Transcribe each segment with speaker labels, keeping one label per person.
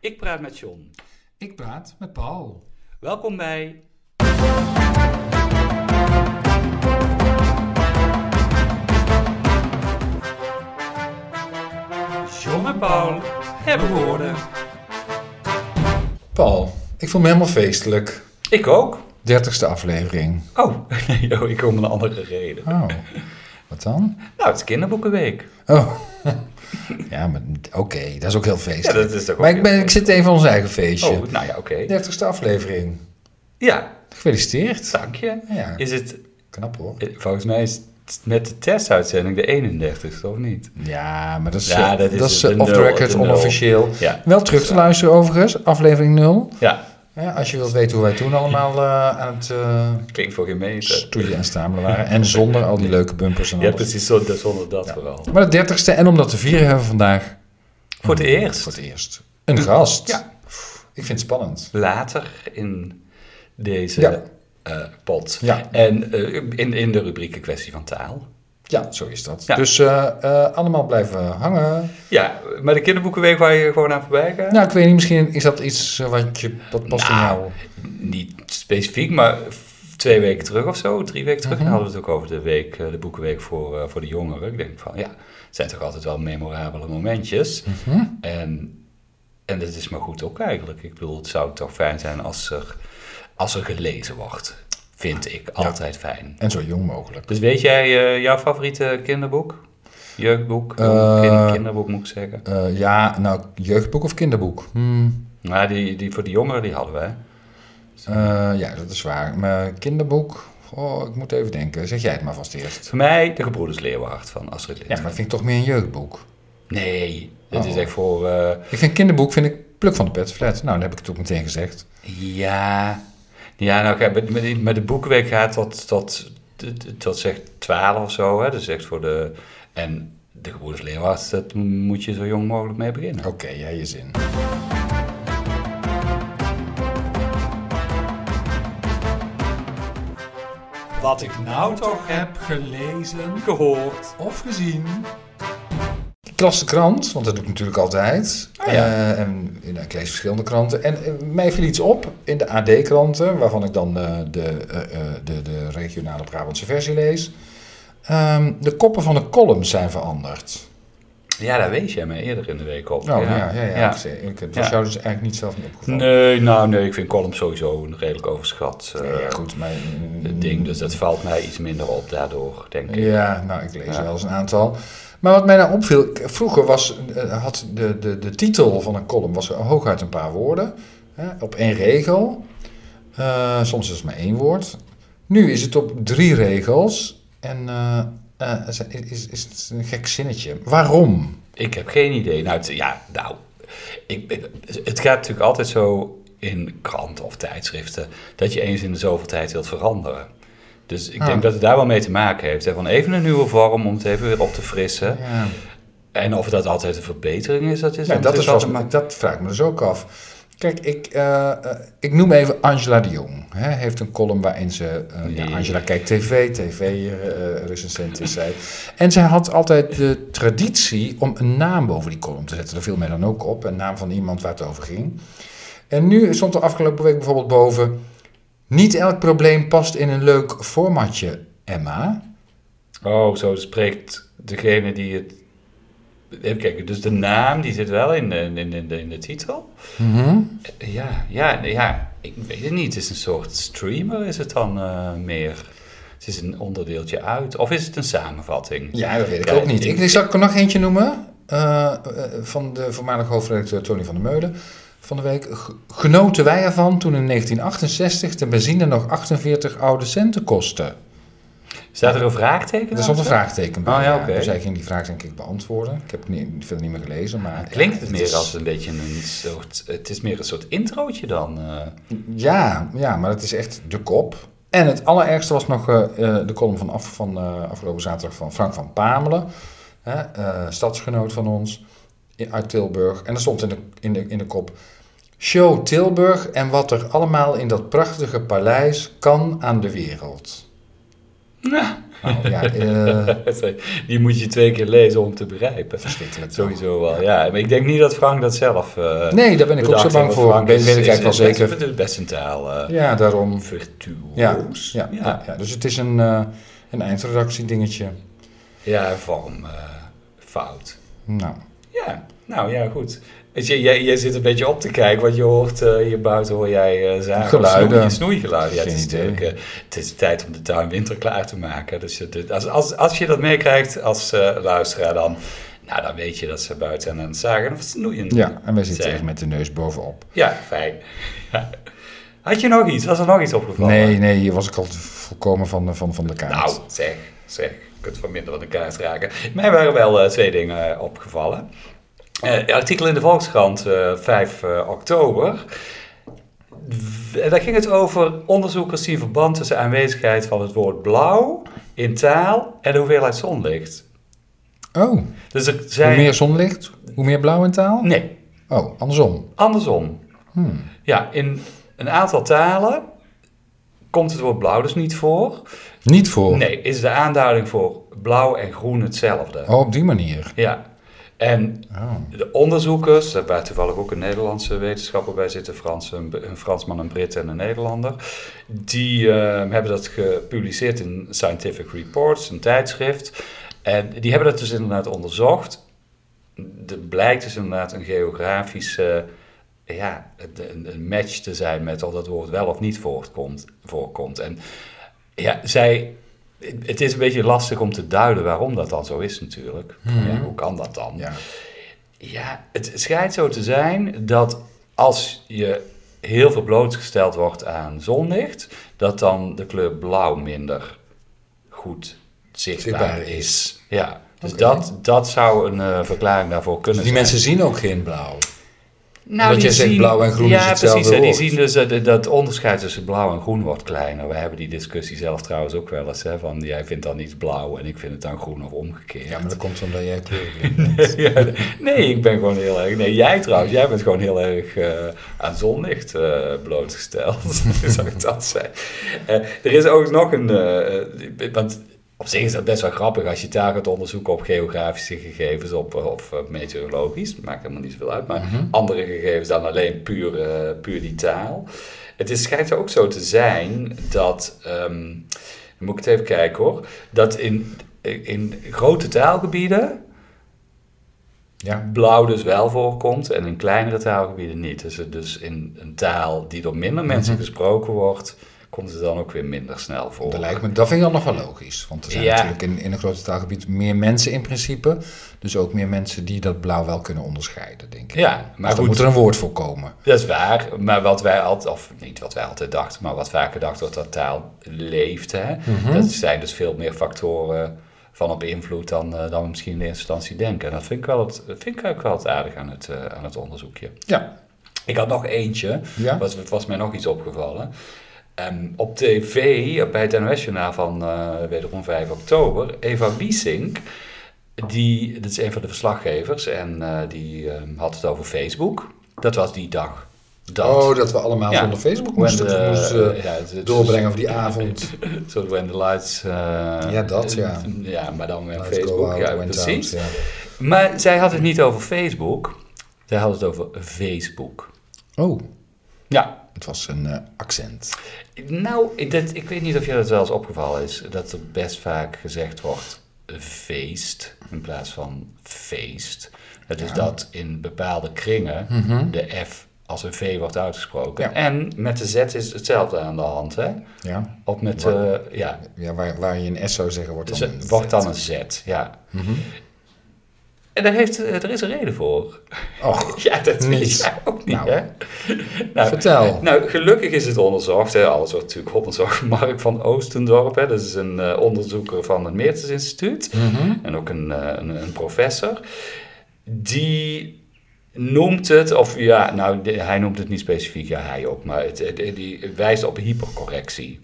Speaker 1: Ik praat met John.
Speaker 2: Ik praat met Paul.
Speaker 1: Welkom bij. John en Paul hebben woorden.
Speaker 2: Paul, ik voel me helemaal feestelijk.
Speaker 1: Ik ook.
Speaker 2: Dertigste aflevering.
Speaker 1: Oh, nee, oh, ik kom om een andere reden.
Speaker 2: Oh, wat dan?
Speaker 1: Nou, het is kinderboekenweek.
Speaker 2: Oh, ja, maar oké, dat is ook heel
Speaker 1: Ja,
Speaker 2: feestelijk.
Speaker 1: dat is toch ook
Speaker 2: maar ik, ben,
Speaker 1: heel
Speaker 2: ik zit even in ons eigen feestje.
Speaker 1: Oh, nou ja, oké.
Speaker 2: Dertigste aflevering.
Speaker 1: Ja,
Speaker 2: Gefeliciteerd.
Speaker 1: dank je.
Speaker 2: Ja,
Speaker 1: Is het,
Speaker 2: knap hoor.
Speaker 1: eh, volgens mij is het met de testuitzending de 31ste, of niet?
Speaker 2: Ja, maar dat is,
Speaker 1: Ja,
Speaker 2: eh,
Speaker 1: dat is
Speaker 2: is
Speaker 1: de
Speaker 2: eh, off the
Speaker 1: nul,
Speaker 2: record,
Speaker 1: de nul.
Speaker 2: onofficieel.
Speaker 1: Ja.
Speaker 2: Wel terug te luisteren overigens, aflevering 0.
Speaker 1: Ja,
Speaker 2: Ja, als je wilt weten hoe wij toen allemaal eh, aan het eh,
Speaker 1: klinkt voor geen meter.
Speaker 2: stoeien en stamelen waren. En zonder al die leuke bumpers en
Speaker 1: Ja,
Speaker 2: alles.
Speaker 1: precies, zo- dat- zonder dat vooral.
Speaker 2: Maar de dertigste, en omdat de vieren hebben we vandaag...
Speaker 1: Mm, Voor het eerst.
Speaker 2: Voor het eerst. Een gast.
Speaker 1: Ja.
Speaker 2: Ik vind het spannend.
Speaker 1: later in deze
Speaker 2: Ja.
Speaker 1: eh, pot.
Speaker 2: Ja.
Speaker 1: En eh, in, in de rubriek een kwestie van taal.
Speaker 2: Ja, zo is dat.
Speaker 1: Ja.
Speaker 2: Dus eh, eh, allemaal blijven hangen.
Speaker 1: Ja, maar de kinderboekenweek waar je gewoon aan voorbij gaat?
Speaker 2: Nou, ik weet niet, misschien is dat iets eh, wat, je, wat past in
Speaker 1: Nou,
Speaker 2: jou.
Speaker 1: Niet specifiek, maar f- twee weken terug of zo, drie weken terug.
Speaker 2: Mhm.
Speaker 1: Dan hadden we het ook over de, week, eh, de boekenweek voor, eh, voor de jongeren. Ik denk van, ja, het zijn toch altijd wel memorabele momentjes.
Speaker 2: Mhm.
Speaker 1: En, en dat is maar goed ook eigenlijk. Ik bedoel, het zou toch fijn zijn als er, als er gelezen wordt. Vind ik altijd fijn.
Speaker 2: En zo jong mogelijk.
Speaker 1: Dus weet jij eh, jouw favoriete kinderboek? Jeugdboek?
Speaker 2: Eh,
Speaker 1: Kin- kinderboek moet ik zeggen.
Speaker 2: Eh, ja, nou, jeugdboek of kinderboek? Hmm,
Speaker 1: Nou, die, die voor de jongeren die hadden we. hè?
Speaker 2: eh, ja, dat is waar. Maar kinderboek? Oh, ik moet even denken. Zeg jij het maar vast eerst.
Speaker 1: Voor mij de Gebroeders Leeuwenhart van Astrid
Speaker 2: Ja,
Speaker 1: Lindgren.
Speaker 2: maar vind ik toch meer een jeugdboek.
Speaker 1: Nee, dat
Speaker 2: Oh.
Speaker 1: is echt voor... eh,
Speaker 2: Ik vind kinderboek, vind ik pluk van de pet flat. Nou, dan heb ik het ook meteen gezegd.
Speaker 1: ja, ja, nou, kijk, met, met, die- met de boekenweek gaat tot, tot, tot, tot zeg 12 of zo. Hè? Dat is echt voor de... En de Gebroeders Leeuwenhart, dat moet je zo jong mogelijk mee beginnen.
Speaker 2: Oké, jij je zin.
Speaker 1: Wat ik nou toch heb
Speaker 2: gelezen
Speaker 1: gehoord.
Speaker 2: of gezien. Ik las de krant, want dat doe ik natuurlijk altijd.
Speaker 1: Ah, ja.
Speaker 2: Eh, en, nou, ik lees verschillende kranten. En eh, mij viel iets op in de AD-kranten, waarvan ik dan eh, de, eh, eh, de, de regionale Brabantse versie lees. Ehm, de koppen van de columns zijn veranderd.
Speaker 1: Ja, daar wees jij mij eerder in de week op.
Speaker 2: Oh, ja, ja, ja.
Speaker 1: Ja.
Speaker 2: Ik, zei- ik, het was
Speaker 1: Ja.
Speaker 2: jou dus eigenlijk niet zelf niet opgevallen.
Speaker 1: Nee, nou nee, ik vind column sowieso een redelijk overschat eh,
Speaker 2: Ja, goed, maar... mm,
Speaker 1: ding. Dus dat valt mij iets minder op daardoor, denk ik.
Speaker 2: Ja, nou, ik lees
Speaker 1: Ja.
Speaker 2: wel eens een aantal. Maar wat mij nou opviel, ik- vroeger was, eh, had de, de, de titel van een column was hooguit een paar woorden, hè, op één regel. Eh, soms is het maar één woord. Nu is het op drie regels en eh, eh, is, is, is het een gek zinnetje. Waarom?
Speaker 1: Ik heb geen idee. Nou, het, ja, nou ik, ik- het gaat natuurlijk altijd zo in kranten of tijdschriften dat je eens in de zoveel tijd wilt veranderen. Dus ik
Speaker 2: Ah.
Speaker 1: denk dat het daar wel mee te maken heeft. Hè? Van even een nieuwe vorm om het even weer op te frissen.
Speaker 2: Ja.
Speaker 1: En of dat altijd een verbetering is, dat is
Speaker 2: Ja,
Speaker 1: dan
Speaker 2: dat,
Speaker 1: natuurlijk
Speaker 2: is vast,
Speaker 1: altijd
Speaker 2: maar dat vraag ik me dus ook af. Kijk, ik, eh, eh, ik noem even Angela de Jong. Hè, heeft een column waarin ze... eh, ja,
Speaker 1: Nee.
Speaker 2: Angela kijkt tv, tv-recensent eh, is zij. En zij had altijd de traditie om een naam boven die column te zetten. Daar viel mij dan ook op. Een naam van iemand waar het over ging. En nu stond er afgelopen week bijvoorbeeld boven... Niet elk probleem past in een leuk formatje, Emma.
Speaker 1: Oh, zo spreekt degene die het. Even kijken, dus de naam die zit wel in de, in, in de, in de titel?
Speaker 2: Mhm.
Speaker 1: Ja, ja, ja, ik weet het niet. Het is een soort streamer, is het dan eh, meer? Het is een onderdeeltje uit, of is het een samenvatting?
Speaker 2: Ja, dat weet ik
Speaker 1: Ja,
Speaker 2: ook niet.
Speaker 1: ik-
Speaker 2: Ik, zal ik er nog eentje noemen. Eh, eh, van de voormalige hoofdredacteur Tony van der Meulen. Van de week. G- Genoten wij ervan toen in 1968 de benzine nog 48 oude centen kostte?
Speaker 1: Staat er een vraagteken?
Speaker 2: Er stond een
Speaker 1: achter?
Speaker 2: vraagteken bij.
Speaker 1: Oh ja, oké.
Speaker 2: Dus hij ging die vraag denk ik beantwoorden. Ik heb het niet, verder niet meer gelezen. Maar
Speaker 1: Klinkt
Speaker 2: ja,
Speaker 1: het meer
Speaker 2: is-
Speaker 1: als een beetje een soort. Het is meer een soort introotje dan. eh.
Speaker 2: Ja, ja, maar het is echt de kop. En het allerergste was nog eh, eh, de column van, af, van eh, afgelopen zaterdag van Frank van Pamelen, hè, eh, stadsgenoot van ons i- uit Tilburg. En er stond in de, in, de, in de kop: Show Tilburg en wat er allemaal in dat prachtige paleis kan aan de wereld.
Speaker 1: Ja,
Speaker 2: Nou, ja, eh,
Speaker 1: Die moet je twee keer lezen om te begrijpen.
Speaker 2: verschrikkelijk.
Speaker 1: Sowieso wel, ja. Maar ik denk niet dat Frank dat zelf... eh,
Speaker 2: Nee, daar ben ik ook
Speaker 1: bedacht
Speaker 2: zo bang
Speaker 1: heeft,
Speaker 2: voor.
Speaker 1: want
Speaker 2: Ik weet,
Speaker 1: Frank
Speaker 2: weet ik
Speaker 1: is-
Speaker 2: eigenlijk
Speaker 1: is-
Speaker 2: wel
Speaker 1: is-
Speaker 2: zeker.
Speaker 1: Het is best een taal eh,
Speaker 2: Ja, daarom.
Speaker 1: virtuoos.
Speaker 2: Ja, ja,
Speaker 1: ja.
Speaker 2: ja. Dus het is een, eh een eindredactie dingetje.
Speaker 1: Ja, vorm, eh, fout.
Speaker 2: Nou,
Speaker 1: Ja, nou ja, goed. Weet je, jij, jij zit een beetje op te kijken, want je hoort eh, hier buiten hoor jij eh zagen.
Speaker 2: Geluiden.
Speaker 1: Snoei, snoeigeluiden. Ja, het is
Speaker 2: Geen idee.
Speaker 1: natuurlijk eh, het is tijd om de tuin winterklaar te maken. Dus het- het- als, als, als je dat meekrijgt als eh, luisteraar dan, nou dan weet je dat ze buiten aan het zagen of snoeien.
Speaker 2: ja, en wij zitten
Speaker 1: Zeg.
Speaker 2: echt met de neus bovenop.
Speaker 1: Ja, fijn. Ja. Had je nog iets? Was er nog iets opgevallen?
Speaker 2: Nee, nee, hier was ik al volkomen van, de- van, van de kaart.
Speaker 1: Nou, zeg, zeg. Je kunt van minder van de kaart raken. Mij waren wel eh, twee dingen eh, opgevallen. Eh artikel in de Volkskrant, eh, 5 eh, oktober. W- eh, Daar ging het over onderzoekers zien verband tussen aanwezigheid van het woord blauw in taal en de hoeveelheid zonlicht.
Speaker 2: Oh,
Speaker 1: Dus er
Speaker 2: hoe
Speaker 1: zijn...
Speaker 2: meer zonlicht, hoe meer blauw in taal?
Speaker 1: Nee,
Speaker 2: Oh, andersom. Hmm.
Speaker 1: andersom. Ja, in een aantal talen komt het woord blauw dus niet voor.
Speaker 2: Niet voor.
Speaker 1: Nee, is de aanduiding voor blauw en groen hetzelfde.
Speaker 2: Oh, op die manier.
Speaker 1: Ja. En
Speaker 2: Oh.
Speaker 1: de onderzoekers, daar waar toevallig ook een Nederlandse wetenschapper bij zitten, Frans, een, een Fransman, een Brit en een Nederlander, die eh, hebben dat gepubliceerd in Scientific Reports, een tijdschrift. En die hebben dat dus inderdaad onderzocht. Er blijkt dus inderdaad een geografische ja, een, een match te zijn met of dat woord wel of niet voorkomt. voorkomt. En ja, zij. Het is een beetje lastig om te duiden waarom dat dan zo is, natuurlijk. Ja, hoe kan dat dan?
Speaker 2: Ja.
Speaker 1: Ja, het schijnt zo te zijn dat als je heel veel blootgesteld wordt aan zonlicht, dat dan de kleur blauw minder goed zichtbaar,
Speaker 2: Zichtbaar
Speaker 1: is.
Speaker 2: is.
Speaker 1: Ja, dus
Speaker 2: Oké.
Speaker 1: dat, dat zou een eh, verklaring daarvoor kunnen
Speaker 2: Dus die
Speaker 1: zijn.
Speaker 2: mensen zien ook geen blauw.
Speaker 1: Nou,
Speaker 2: Omdat
Speaker 1: die
Speaker 2: jij zegt blauw en groen
Speaker 1: ja,
Speaker 2: is hetzelfde
Speaker 1: precies, hè,
Speaker 2: woord.
Speaker 1: die zien dus eh, dat- dat onderscheid tussen blauw en groen wordt kleiner. We hebben die discussie zelf trouwens ook wel eens. Hè, van jij vindt dan iets blauw en ik vind het dan groen of omgekeerd.
Speaker 2: Ja, maar dat komt omdat jij kleuren bent.
Speaker 1: Ja, nee, ik ben gewoon heel erg. Nee, jij trouwens, jij bent gewoon heel erg eh, aan zonlicht eh, blootgesteld. zou ik dat zijn. Eh, er is ook nog een. eh, eh, want op zich is dat best wel grappig als je het daar gaat onderzoeken op geografische gegevens op, eh, of eh, meteorologisch. Maakt helemaal niet zoveel uit. Maar andere gegevens dan alleen puur, eh, puur die taal. Het is, schijnt ook zo te zijn dat. ehm, dan moet ik het even kijken hoor. Dat in, in grote taalgebieden
Speaker 2: Ja.
Speaker 1: blauw dus wel voorkomt en in kleinere taalgebieden niet. Dus, het- dus in een taal die door minder mensen gesproken wordt, komt het dan ook weer minder snel voor.
Speaker 2: Dat, lijkt me, dat vind ik dan nog wel logisch. Want er zijn
Speaker 1: Ja.
Speaker 2: natuurlijk in, in een groot taalgebied meer mensen in principe. Dus ook meer mensen die dat blauw wel kunnen onderscheiden, denk ik.
Speaker 1: Ja, maar
Speaker 2: Maar dan
Speaker 1: goed,
Speaker 2: moet er een woord voor komen.
Speaker 1: dat is waar. Maar wat wij altijd, of niet wat wij altijd dachten, maar wat vaker dachten wordt dat taal leeft. Hè? Dat zijn dus veel meer factoren van op invloed dan, eh, dan we misschien in de eerste instantie denken. En dat vind ik, wel het, vind ik eigenlijk wel het aardig aan het, eh, aan het onderzoekje.
Speaker 2: Ja.
Speaker 1: Ik had nog eentje.
Speaker 2: Ja?
Speaker 1: Was, was mij nog iets opgevallen. Ehm, op tv, bij het NOS-journaal van eh wederom 5 oktober, Eva Wiesink, die, dat is een van de verslaggevers, en eh, die ehm, had het over Facebook. Dat was die dag. Dat.
Speaker 2: Oh, dat we allemaal
Speaker 1: Ja.
Speaker 2: zonder Facebook
Speaker 1: When
Speaker 2: moesten,
Speaker 1: the-
Speaker 2: moesten eh,
Speaker 1: ja, het- het-
Speaker 2: doorbrengen of die avond.
Speaker 1: Zo, when the lights... eh,
Speaker 2: Ja, dat, ja.
Speaker 1: Ja, maar dan weer
Speaker 2: Let's
Speaker 1: Facebook.
Speaker 2: out,
Speaker 1: Ja,
Speaker 2: went
Speaker 1: precies.
Speaker 2: out,
Speaker 1: Maar zij had het niet over Facebook. Zij had het over Facebook.
Speaker 2: ja. Oh,
Speaker 1: Ja,
Speaker 2: het was een eh, accent.
Speaker 1: Nou, ik- dat, ik weet niet of je dat wel eens opgevallen is, dat er best vaak gezegd wordt feest in plaats van feest. Het is dat in bepaalde kringen de F als een V wordt uitgesproken.
Speaker 2: Mhm. Ja.
Speaker 1: En met de Z is hetzelfde aan de hand, hè?
Speaker 2: Ja,
Speaker 1: Of met,
Speaker 2: Wat?
Speaker 1: eh, ja,
Speaker 2: ja waar, waar je een S zou zeggen wordt
Speaker 1: dus
Speaker 2: dan
Speaker 1: het
Speaker 2: een Z. Mhm.
Speaker 1: wordt dan een Z, ja. En daar, heeft, eh, er is een reden voor.
Speaker 2: Och,
Speaker 1: Ja, dat weet
Speaker 2: Niet.
Speaker 1: jij ook niet,
Speaker 2: Nou.
Speaker 1: hè? Nou,
Speaker 2: vertel.
Speaker 1: Nou, gelukkig is het onderzocht. Hè. Alles wordt natuurlijk onderzocht. Mark van Oostendorp, hè. dat is een eh, onderzoeker van het Meertens Instituut.
Speaker 2: Mhm.
Speaker 1: En ook een, eh, een, een professor. Die noemt het, of ja, nou, de- hij noemt het niet specifiek, ja, hij ook. Maar het, het- die wijst op hypercorrectie.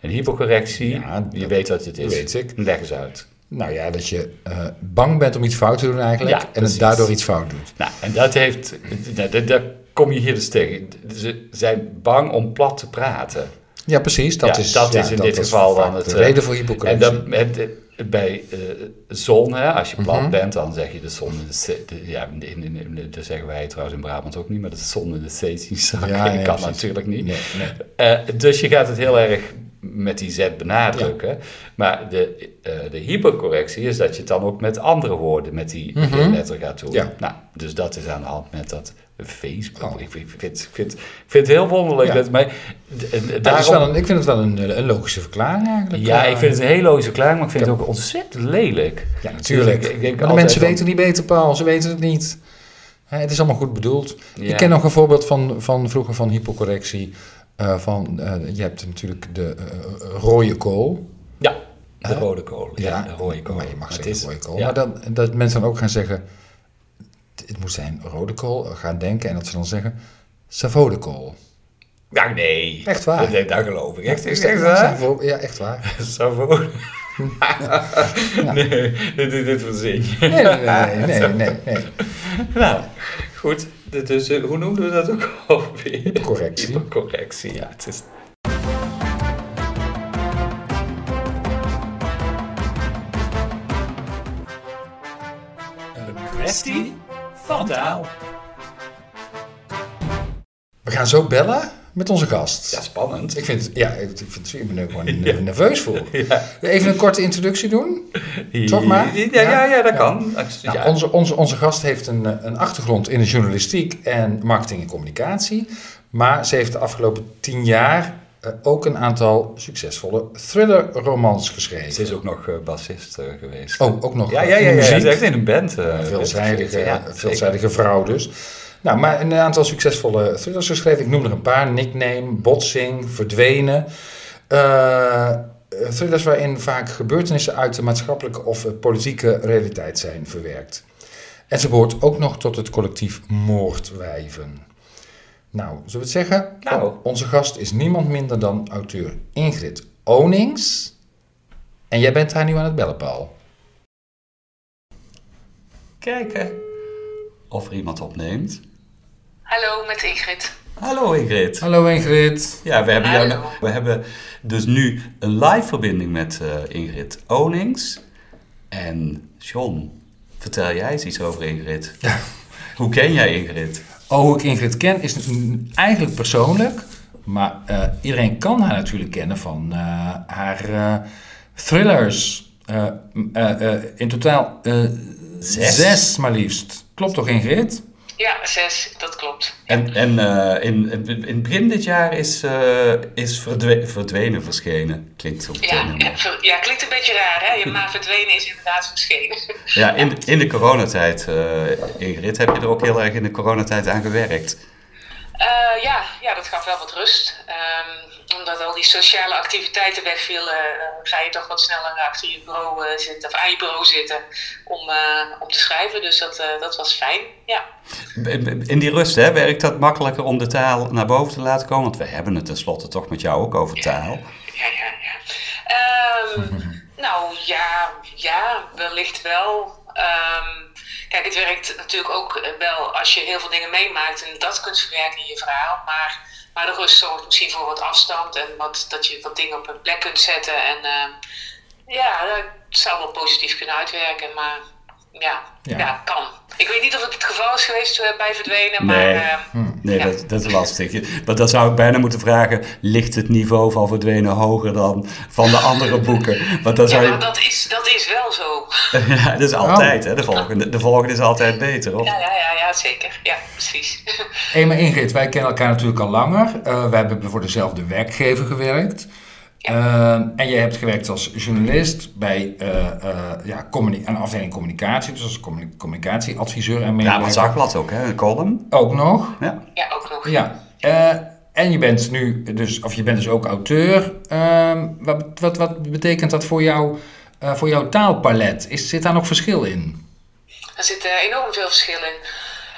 Speaker 1: En hypercorrectie,
Speaker 2: Ja,
Speaker 1: je
Speaker 2: dat
Speaker 1: weet wat het is.
Speaker 2: weet ik.
Speaker 1: Leg eens uit.
Speaker 2: Nou ja, dat je eh, bang bent om iets fout te doen eigenlijk.
Speaker 1: Ja,
Speaker 2: en
Speaker 1: precies.
Speaker 2: het daardoor iets fout doet.
Speaker 1: Nou, en dat heeft, dat- dat- daar kom je hier dus tegen. Ze zijn bang om plat te praten.
Speaker 2: Ja, precies. Dat
Speaker 1: Ja,
Speaker 2: is,
Speaker 1: dat
Speaker 2: ja,
Speaker 1: is in dit geval
Speaker 2: vaak
Speaker 1: dan het,
Speaker 2: de
Speaker 1: eh,
Speaker 2: reden voor
Speaker 1: En
Speaker 2: hypocrisie.
Speaker 1: dan met, eh, bij eh, zon, hè, als je
Speaker 2: Mhm.
Speaker 1: plat bent, dan zeg je de zon in de zee. de- Ja, in, in, in- in- dat zeggen wij trouwens in Brabant ook niet, maar de zon in de zee zien zakken.
Speaker 2: Ja, nee,
Speaker 1: kan
Speaker 2: precies.
Speaker 1: natuurlijk niet.
Speaker 2: Nee, nee.
Speaker 1: Eh, dus je gaat het heel erg met die zet benadrukken. Maar de, eh, de hypercorrectie is dat je het dan ook met andere woorden met die letter gaat doen.
Speaker 2: Mhm. Ja.
Speaker 1: Nou, dus dat is aan de hand met dat Facebook.
Speaker 2: Oh.
Speaker 1: Ik, ik vind, ik, vind, ik vind het heel wonderlijk.
Speaker 2: Ja.
Speaker 1: Dat, maar, d- en-
Speaker 2: Maar het is
Speaker 1: daarom-
Speaker 2: wel een- ik vind het wel een, een logische verklaring eigenlijk.
Speaker 1: ja,
Speaker 2: Eh,
Speaker 1: ik vind het een hele logische verklaring, maar ik vind
Speaker 2: Ja.
Speaker 1: het ook ontzettend lelijk.
Speaker 2: Ja, natuurlijk.
Speaker 1: Dus ik- ik denk
Speaker 2: maar de
Speaker 1: altijd
Speaker 2: mensen
Speaker 1: van-
Speaker 2: weten niet beter, Paul. Ze weten het niet. Hè, het is allemaal goed bedoeld.
Speaker 1: Ja.
Speaker 2: Ik ken nog een voorbeeld van, van vroeger van hypocorrectie. Eh, van, eh, je hebt natuurlijk de eh, rode kool.
Speaker 1: Ja, de rode kool. Ja, de rode kool.
Speaker 2: Maar je mag
Speaker 1: Maar
Speaker 2: zeggen
Speaker 1: het is-
Speaker 2: rode kool.
Speaker 1: ja.
Speaker 2: Maar dan, dat mensen dan ook gaan zeggen... Het moet zijn rode kool. Gaan denken en dat ze dan zeggen... Savodekool.
Speaker 1: Ja, nee.
Speaker 2: Echt waar.
Speaker 1: Dat, dat, dat geloof ik. Echt, echt, echt waar.
Speaker 2: Savo- Ja, echt waar.
Speaker 1: Savoy. Nee, dit, dit, dit was zin.
Speaker 2: Nee, nee, nee. nee, nee, nee, nee.
Speaker 1: Nou, goed. Dit is, eh, hoe noemden we dat ook alweer?
Speaker 2: Hypercorrectie.
Speaker 1: Hypercorrectie, ja. Het is...
Speaker 2: Eh,
Speaker 1: Een kwestie van taal.
Speaker 2: We gaan zo bellen met onze gast.
Speaker 1: Ja, spannend.
Speaker 2: Ik vind, ja, ik ik vind, ik ben er gewoon nerveus voor.
Speaker 1: Ja.
Speaker 2: Even een korte introductie doen. Toch maar?
Speaker 1: Ja, ja, ja dat
Speaker 2: Ja.
Speaker 1: kan. Ja.
Speaker 2: Nou, onze, onze, onze gast heeft een, eh, een achtergrond in de journalistiek en marketing en communicatie. Maar ze heeft de afgelopen tien jaar eh, ook een aantal succesvolle thrillerromans
Speaker 1: Ze
Speaker 2: geschreven.
Speaker 1: is ook nog eh, bassist eh, geweest.
Speaker 2: Oh, ook nog
Speaker 1: ja, ja, ja,
Speaker 2: in
Speaker 1: ja. Ze
Speaker 2: muziek.
Speaker 1: is echt in een band. eh,
Speaker 2: veelzijdige, eh,
Speaker 1: ja, zeker.
Speaker 2: veelzijdige vrouw dus. Nou, maar een aantal succesvolle thrillers geschreven. Ik noem er een paar. Nickname, Botsing, Verdwenen. Eh, thrillers waarin vaak gebeurtenissen uit de maatschappelijke of eh, politieke realiteit zijn verwerkt. En ze behoort ook nog tot het collectief Moordwijven. Nou, zullen we het zeggen?
Speaker 1: Nou.
Speaker 2: Onze gast is niemand minder dan auteur Ingrid Onings. En jij bent haar nu aan het bellen, Paul.
Speaker 1: Kijken of er iemand opneemt.
Speaker 3: Hallo, met Ingrid.
Speaker 1: Hallo Ingrid.
Speaker 2: Hallo Ingrid.
Speaker 1: Ja, we hebben, jou, nou-
Speaker 3: Hallo.
Speaker 1: we hebben dus nu een live verbinding met eh, Ingrid Onings en John. Vertel jij eens iets over Ingrid.
Speaker 2: Ja.
Speaker 1: Hoe ken jij Ingrid?
Speaker 2: Oh, hoe ik Ingrid ken is n- eigenlijk persoonlijk. Maar eh, iedereen kan haar natuurlijk kennen van eh, haar eh, thrillers. Eh, m- eh, eh, in totaal eh,
Speaker 1: Zes.
Speaker 2: zes maar liefst. Klopt toch Ingrid?
Speaker 3: Ja, zes, dat klopt.
Speaker 1: En, en eh, in, in, in het begin dit jaar is, eh, is verdwe- verdwenen verschenen. Klinkt zo meteen
Speaker 3: Ja,
Speaker 1: heel mooi.
Speaker 3: ja, ver- ja, klinkt een beetje raar, hè? Je maar verdwenen is inderdaad verschenen.
Speaker 1: Ja, in, de- in de coronatijd, eh, Ingrid, heb je er ook heel erg in de coronatijd aan gewerkt.
Speaker 3: Eh, ja, ja, dat gaf wel wat rust. Ehm, omdat al die sociale activiteiten wegvielen, eh, ga je toch wat sneller achter je bureau eh, zitten, of aan je bureau zitten om, eh, om te schrijven. Dus dat, eh, dat was fijn. Ja.
Speaker 1: B- b- In die rust, hè, werkt dat makkelijker om de taal naar boven te laten komen? Want we hebben het tenslotte toch met jou ook over taal.
Speaker 3: ja, ja, ja. Ehm, nou ja, ja, wellicht wel. Ehm, kijk, het werkt natuurlijk ook eh, wel als je heel veel dingen meemaakt en dat kunt verwerken in je verhaal. Maar, maar de rust zorgt misschien voor wat afstand en wat, dat je wat dingen op hun plek kunt zetten. En ehm, ja, dat zou wel positief kunnen uitwerken, maar ja,
Speaker 2: Ja.
Speaker 3: ja. kan. Ik weet niet of het het geval is geweest eh, bij verdwenen, maar.
Speaker 1: Nee. Hm.
Speaker 3: ehm,
Speaker 1: Nee,
Speaker 3: Ja.
Speaker 1: dat, dat is lastig. Je- Want dan zou ik bijna moeten vragen, ligt het niveau van verdwenen hoger dan van de andere boeken? Want dan
Speaker 3: ja,
Speaker 1: zou
Speaker 3: maar
Speaker 1: je...
Speaker 3: dat is, dat is wel zo.
Speaker 1: Ja, dat is altijd, hè, de volgende. De volgende is altijd beter, of?
Speaker 3: Ja, ja, ja, ja zeker. Ja, precies.
Speaker 2: Hé, maar Ingrid, wij kennen elkaar natuurlijk al langer. Eh, wij hebben voor dezelfde werkgever gewerkt. Eh, en jij hebt gewerkt als journalist bij eh, eh, ja, communi- aan de afdeling communicatie. Dus als communi- communicatieadviseur en
Speaker 1: Ja, maar
Speaker 2: medewerker.
Speaker 1: zakblad ook, hè, een column.
Speaker 2: Ook nog.
Speaker 1: Ja.
Speaker 3: Ja, ook nog.
Speaker 2: Ja, eh, en je bent nu dus, of je bent dus ook auteur. Ehm, wat, wat, wat betekent dat voor, jou, eh, voor jouw taalpalet? Is, zit daar nog verschil in?
Speaker 3: Er zit eh, enorm veel verschil in.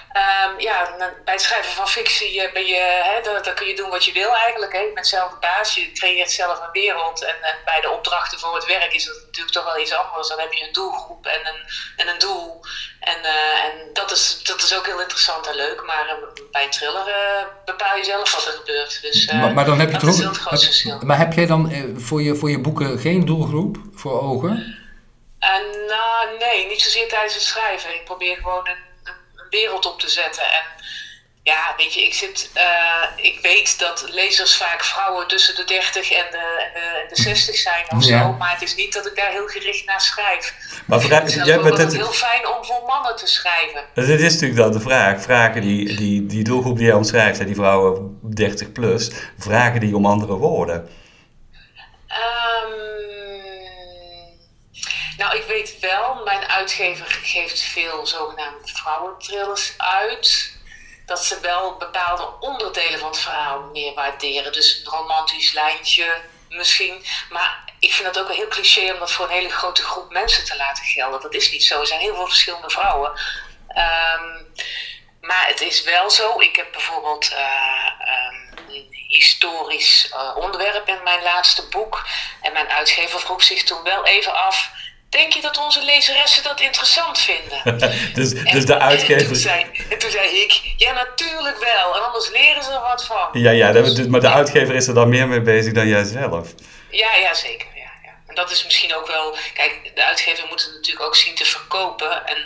Speaker 3: Ehm, ja, na- bij het schrijven van fictie eh, ben je, hè, dan, dan kun je doen wat je wil eigenlijk. Hè. Je bent zelf de baas, je creëert zelf een wereld. En, eh, bij de opdrachten voor het werk is dat natuurlijk toch wel iets anders. Dan heb je een doelgroep en een, en een doel. En, eh, en dat, is, dat is ook heel interessant en leuk. Maar eh, bij een thriller eh, bepaal je zelf wat er gebeurt. Dus, eh,
Speaker 4: Maar, maar dan heb je
Speaker 3: dat
Speaker 4: toch
Speaker 3: is wel
Speaker 4: ook-
Speaker 3: het grootste verschil.
Speaker 4: Maar heb jij dan eh, voor, je, voor je boeken geen doelgroep voor ogen?
Speaker 3: En, nou, nee, niet zozeer tijdens het schrijven. Ik probeer gewoon een, een- een wereld op te zetten. En ja, weet je, ik, zit, eh, ik weet dat lezers vaak vrouwen tussen de 30 en de, eh, de 60 zijn of
Speaker 4: Ja.
Speaker 3: zo. Maar het is niet dat ik daar heel gericht naar schrijf.
Speaker 1: Maar vraag,
Speaker 3: Ik vind
Speaker 1: jij
Speaker 3: het ook
Speaker 1: bent
Speaker 3: altijd
Speaker 1: het,
Speaker 3: heel fijn om voor mannen te schrijven.
Speaker 1: Dus dit is natuurlijk dan de vraag. Vragen die, die, die doelgroep die jij omschrijft, hè, die vrouwen 30 plus, vragen die om andere woorden.
Speaker 3: Ehm, nou, ik weet wel, mijn uitgever geeft veel zogenaamde vrouwentrillers uit. Dat ze wel bepaalde onderdelen van het verhaal meer waarderen. Dus een romantisch lijntje misschien. Maar ik vind dat ook wel heel cliché om dat voor een hele grote groep mensen te laten gelden. Dat is niet zo. Er zijn heel veel verschillende vrouwen. Ehm, maar het is wel zo. Ik heb bijvoorbeeld eh, ehm, een historisch eh, onderwerp in mijn laatste boek. En mijn uitgever vroeg zich toen wel even af. Denk je dat onze lezeressen dat interessant vinden?
Speaker 1: Dus, dus
Speaker 3: En-
Speaker 1: de
Speaker 3: En toen,
Speaker 1: uitgever.
Speaker 3: zei, en toen zei ik, ja natuurlijk wel. En anders leren ze er wat van.
Speaker 1: Ja, ja, dat- dus- maar de uitgever is er dan meer mee bezig dan jij zelf.
Speaker 3: Ja, ja zeker. Ja, ja. En dat is misschien ook wel. Kijk, de uitgever moet het natuurlijk ook zien te verkopen. En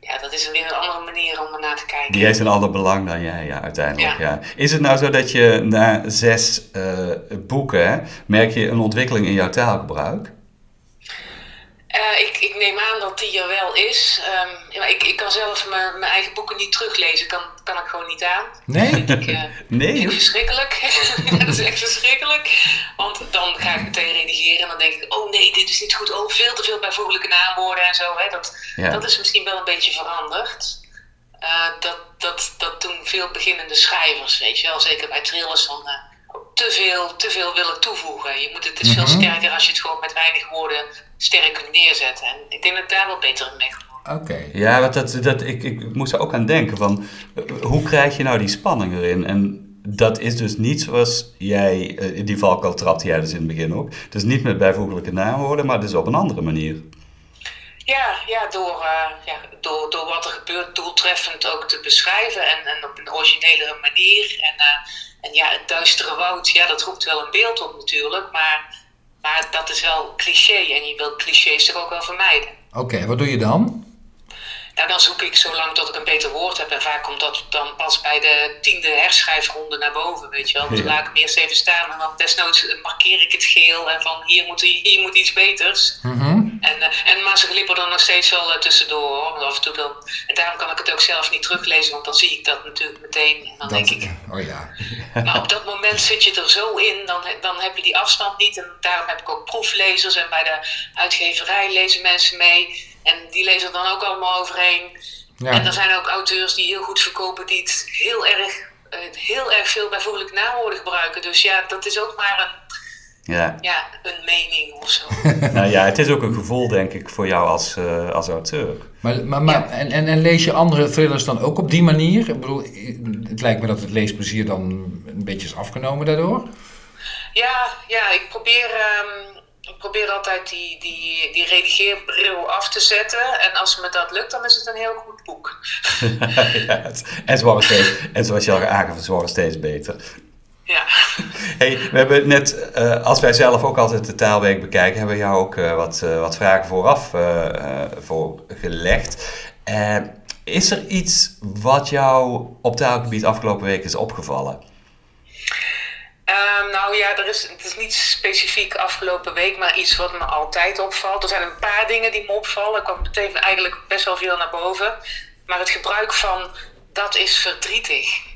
Speaker 3: ja, dat is weer een andere manier om ernaar te kijken.
Speaker 1: Die heeft een ander belang dan jij, ja, uiteindelijk. Ja.
Speaker 3: Ja.
Speaker 1: Is het nou zo dat je na zes eh, boeken, hè, merk je een ontwikkeling in jouw taalgebruik?
Speaker 3: Eh, ik, ik neem aan dat die er wel is. Ehm, ja, maar ik, ik kan zelf mijn, mijn eigen boeken niet teruglezen. Kan, kan ik gewoon niet aan.
Speaker 4: Nee?
Speaker 3: Ik, eh,
Speaker 1: Nee,
Speaker 3: vind
Speaker 1: joh.
Speaker 3: ik verschrikkelijk. dat is echt verschrikkelijk. Want dan ga ik meteen redigeren en dan denk ik... oh nee, dit is niet goed. Oh, veel te veel bijvoeglijke naamwoorden en zo. Hè. Dat,
Speaker 1: Ja.
Speaker 3: dat is misschien wel een beetje veranderd. Eh, dat, dat, dat doen veel beginnende schrijvers, weet je wel. Zeker bij thrillers dan eh, ook te veel, te veel willen toevoegen. Je moet het, het is
Speaker 1: Mhm.
Speaker 3: veel sterker als je het gewoon met weinig woorden sterk kunt neerzetten. En ik denk dat ik daar wel beter in ben geworden.
Speaker 4: Oké.
Speaker 1: Ja, want dat, dat, ik, ik moest er ook aan denken van, eh, hoe krijg je nou die spanning erin? En dat is dus niet zoals jij, eh, in die valkuil trapte jij dus in het begin ook. Dus niet met bijvoeglijke naamwoorden, maar dus op een andere manier.
Speaker 3: Ja, ja, door, eh, ja door, door wat er gebeurt doeltreffend ook te beschrijven en, en op een originelere manier. En, eh, en ja, het duistere woud, ja, dat roept wel een beeld op natuurlijk, maar, maar dat is wel cliché en je wil clichés toch ook wel vermijden.
Speaker 4: Oké, wat doe je dan?
Speaker 3: Nou, dan zoek ik zo lang tot ik een beter woord heb. En vaak komt dat dan pas bij de tiende herschrijfronde naar boven, weet je wel. Dus
Speaker 1: Ja.
Speaker 3: dan laat ik hem eerst even staan en dan desnoods markeer ik het geel. En van hier moet, hier moet iets beters.
Speaker 4: Mhm.
Speaker 3: En, eh, en maar ze glippen er nog steeds wel eh, tussendoor hoor. Want Af en toe dan. En daarom kan ik het ook zelf niet teruglezen, want dan zie ik dat natuurlijk meteen. En dan denk ik.
Speaker 4: oh ja.
Speaker 3: Maar op dat moment zit je er zo in, dan, dan heb je die afstand niet. En daarom heb ik ook proeflezers. En bij de uitgeverij lezen mensen mee. En die lezen er dan ook allemaal overheen. En er
Speaker 4: ja.
Speaker 3: zijn ook auteurs die heel goed verkopen, die het heel erg, eh, heel erg veel bijvoorbeeld naamwoorden gebruiken. Dus ja, dat is ook maar een,
Speaker 1: Ja.
Speaker 3: ja, een mening of zo.
Speaker 1: nou ja, het is ook een gevoel denk ik voor jou als, eh, als auteur.
Speaker 4: Maar, maar, maar en, en, en lees je andere thrillers dan ook op die manier? Ik bedoel, het lijkt me dat het leesplezier dan een beetje is afgenomen daardoor.
Speaker 3: Ja, ja ik, probeer, ehm, ik probeer altijd die, die, die redigeerbril af te zetten. En als me dat lukt, dan is het een heel goed boek.
Speaker 1: ja, het- en, ze worden steeds, en zoals je al aangeeft, ze worden steeds beter.
Speaker 3: Ja,
Speaker 1: Hey, we hebben net, eh, als wij zelf ook altijd de taalweek bekijken, hebben we jou ook eh, wat, eh, wat vragen vooraf eh, eh, voor gelegd. Eh, is er iets wat jou op taalgebied afgelopen week is opgevallen?
Speaker 3: Ehm, nou ja, er is, het is niet specifiek afgelopen week, maar iets wat me altijd opvalt. Er zijn een paar dingen die me opvallen. Er kwam meteen eigenlijk best wel veel naar boven. Maar het gebruik van dat is verdrietig.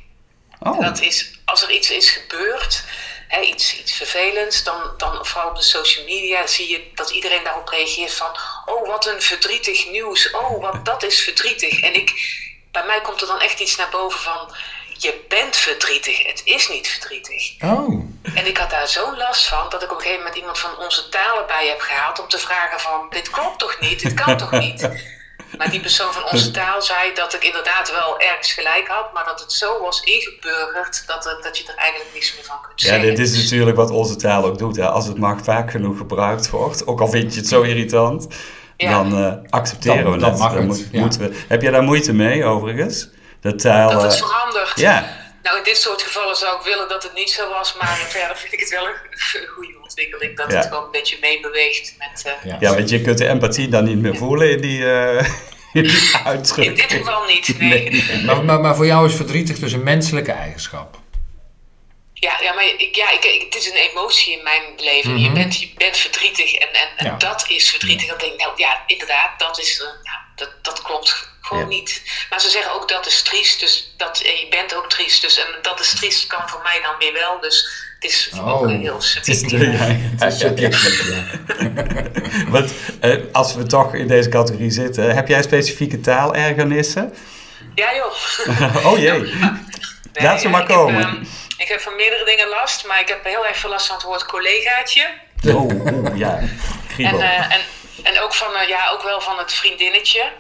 Speaker 1: Oh,
Speaker 3: Dat is, als er iets is gebeurd, hè, iets, iets vervelends, dan, dan vooral op de social media zie je dat iedereen daarop reageert van, oh wat een verdrietig nieuws, oh wat dat is verdrietig. En ik, bij mij komt er dan echt iets naar boven van, je bent verdrietig, het is niet verdrietig.
Speaker 4: Oh.
Speaker 3: En ik had daar zo last van dat ik op een gegeven moment iemand van onze talen bij heb gehaald om te vragen van, dit klopt toch niet, dit kan toch niet. Maar die persoon van onze taal zei dat ik inderdaad wel ergens gelijk had, maar dat het zo was ingeburgerd dat, het- dat je er eigenlijk niks meer van kunt
Speaker 1: Ja,
Speaker 3: zeggen.
Speaker 1: dit is natuurlijk wat onze taal ook doet. Hè. Als het maar vaak genoeg gebruikt wordt, ook al vind je het zo irritant,
Speaker 3: Ja.
Speaker 1: dan eh, accepteren
Speaker 2: Dan-
Speaker 1: we
Speaker 2: dan
Speaker 1: het.
Speaker 2: mag het,
Speaker 1: moet-
Speaker 2: ja.
Speaker 1: moeten we. Heb jij daar moeite mee, overigens? De taal...
Speaker 3: dat het
Speaker 1: eh,
Speaker 3: verandert.
Speaker 1: ja,
Speaker 3: Nou, in dit soort gevallen zou ik willen dat het niet zo was, maar verder vind ik het wel een goede ontwikkeling dat
Speaker 1: Ja.
Speaker 3: het gewoon een beetje meebeweegt met. eh,
Speaker 1: ja, want je kunt de empathie dan niet meer voelen in die, eh, in die
Speaker 3: In dit
Speaker 1: uitdrukking.
Speaker 3: geval niet, nee.
Speaker 2: Maar, maar, maar voor jou is verdrietig dus een menselijke eigenschap.
Speaker 3: Ja, ja, maar ik, ja, ik, ik- het is een emotie in mijn leven.
Speaker 1: Mhm.
Speaker 3: je, bent, je bent verdrietig en, en, en
Speaker 2: Ja.
Speaker 3: dat is verdrietig. Dan denk ik, nou ja, inderdaad, dat, is, eh, nou, dat, dat klopt gewoon
Speaker 1: Ja.
Speaker 3: niet. Maar ze zeggen ook dat is triest, dus dat, en je bent ook triest. Dus, en dat is triest kan voor mij dan weer wel. Dus het is ook
Speaker 2: Oh.
Speaker 3: heel
Speaker 1: Het is
Speaker 3: subjectief.
Speaker 1: de-
Speaker 2: Dat is subjectief, ja.
Speaker 1: Want eh, als we toch in deze categorie zitten, heb jij specifieke taalergernissen?
Speaker 3: Ja joh.
Speaker 1: Oh jee.
Speaker 3: Nee,
Speaker 1: Laat ze maar
Speaker 3: ik heb,
Speaker 1: komen.
Speaker 3: ehm, ik heb van meerdere dingen last, maar ik heb heel erg veel last van het woord collegaatje.
Speaker 1: Oh, oh, ja.
Speaker 3: En,
Speaker 1: Kriebel.
Speaker 3: eh, en, en ook, van, eh, ja, ook wel van het vriendinnetje.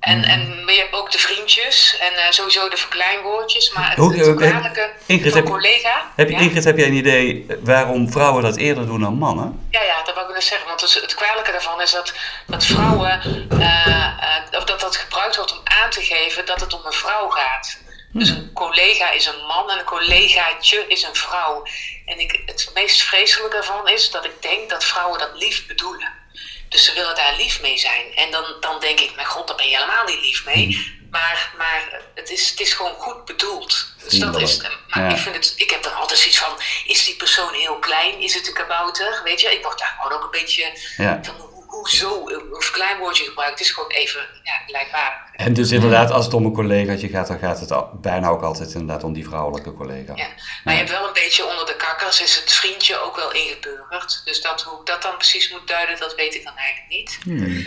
Speaker 3: En,
Speaker 1: Mhm.
Speaker 3: en, maar je hebt ook de vriendjes en eh, sowieso de verkleinwoordjes. Maar het,
Speaker 1: Hoe-
Speaker 3: het
Speaker 1: eh,
Speaker 3: kwalijke
Speaker 1: Ingrid,
Speaker 3: van
Speaker 1: heb-
Speaker 3: collega...
Speaker 1: Heb, je-
Speaker 3: ja,
Speaker 1: Ingrid, heb jij een idee waarom vrouwen dat eerder doen dan mannen?
Speaker 3: ja, ja, dat wou ik net zeggen. Want het, het kwalijke daarvan is dat, dat vrouwen... eh, eh, of dat dat gebruikt wordt om aan te geven dat het om een vrouw gaat. Dus een collega is een man en een collegaatje is een vrouw. En ik, het meest vreselijke daarvan is dat ik denk dat vrouwen dat lief bedoelen. Dus ze willen daar lief mee zijn. En dan, dan denk ik, mijn god, daar ben je helemaal niet lief mee. Maar, maar het, is, het is gewoon goed bedoeld. Dus dat is, maar
Speaker 1: Ja.
Speaker 3: ik, vind het, ik heb dan altijd zoiets van, is die persoon heel klein? Is het een kabouter? Weet je, ik word daar gewoon ook een beetje
Speaker 1: Ja.
Speaker 3: van, ho- hoezo? Een verkleinwoordje gebruikt. Het is gewoon even ja, gelijkwaardig.
Speaker 1: En dus inderdaad, als het om een collegaatje gaat, dan gaat het al- bijna ook altijd inderdaad om die vrouwelijke collega.
Speaker 3: Ja. Maar je hebt wel een beetje onder de kakkers, is het vriendje ook wel ingeburgerd. Dus dat, hoe ik dat dan precies moet duiden, dat weet ik dan eigenlijk niet.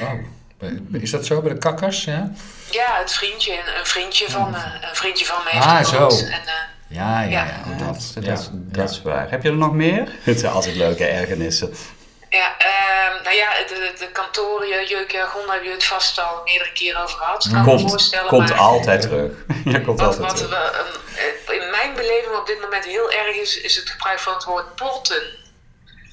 Speaker 2: Oh. Is dat zo bij de kakkers? Ja,
Speaker 3: Ja, het vriendje, een, een vriendje van me. Een vriendje van me heeft
Speaker 2: Ah,
Speaker 3: gewoond.
Speaker 2: zo.
Speaker 3: En, eh,
Speaker 2: ja, ja. ja,
Speaker 3: Ja.
Speaker 2: Oh,
Speaker 1: Dat,
Speaker 2: dat,
Speaker 1: dat,
Speaker 2: ja.
Speaker 1: is- dat is waar. Heb je er nog meer? Het zijn altijd leuke ergernissen.
Speaker 3: Ja, ehm, nou ja, de, de kantoren, Jeuk Jargon, hebben jullie het vast al meerdere keren over gehad. Kan ik me
Speaker 1: Komt,
Speaker 3: voorstellen,
Speaker 1: komt
Speaker 3: maar
Speaker 1: altijd terug. Ja, komt
Speaker 3: Wat,
Speaker 1: altijd
Speaker 3: wat
Speaker 1: terug.
Speaker 3: we, ehm, eh, in mijn beleving op dit moment heel erg is, is het gebruik van het woord plotten.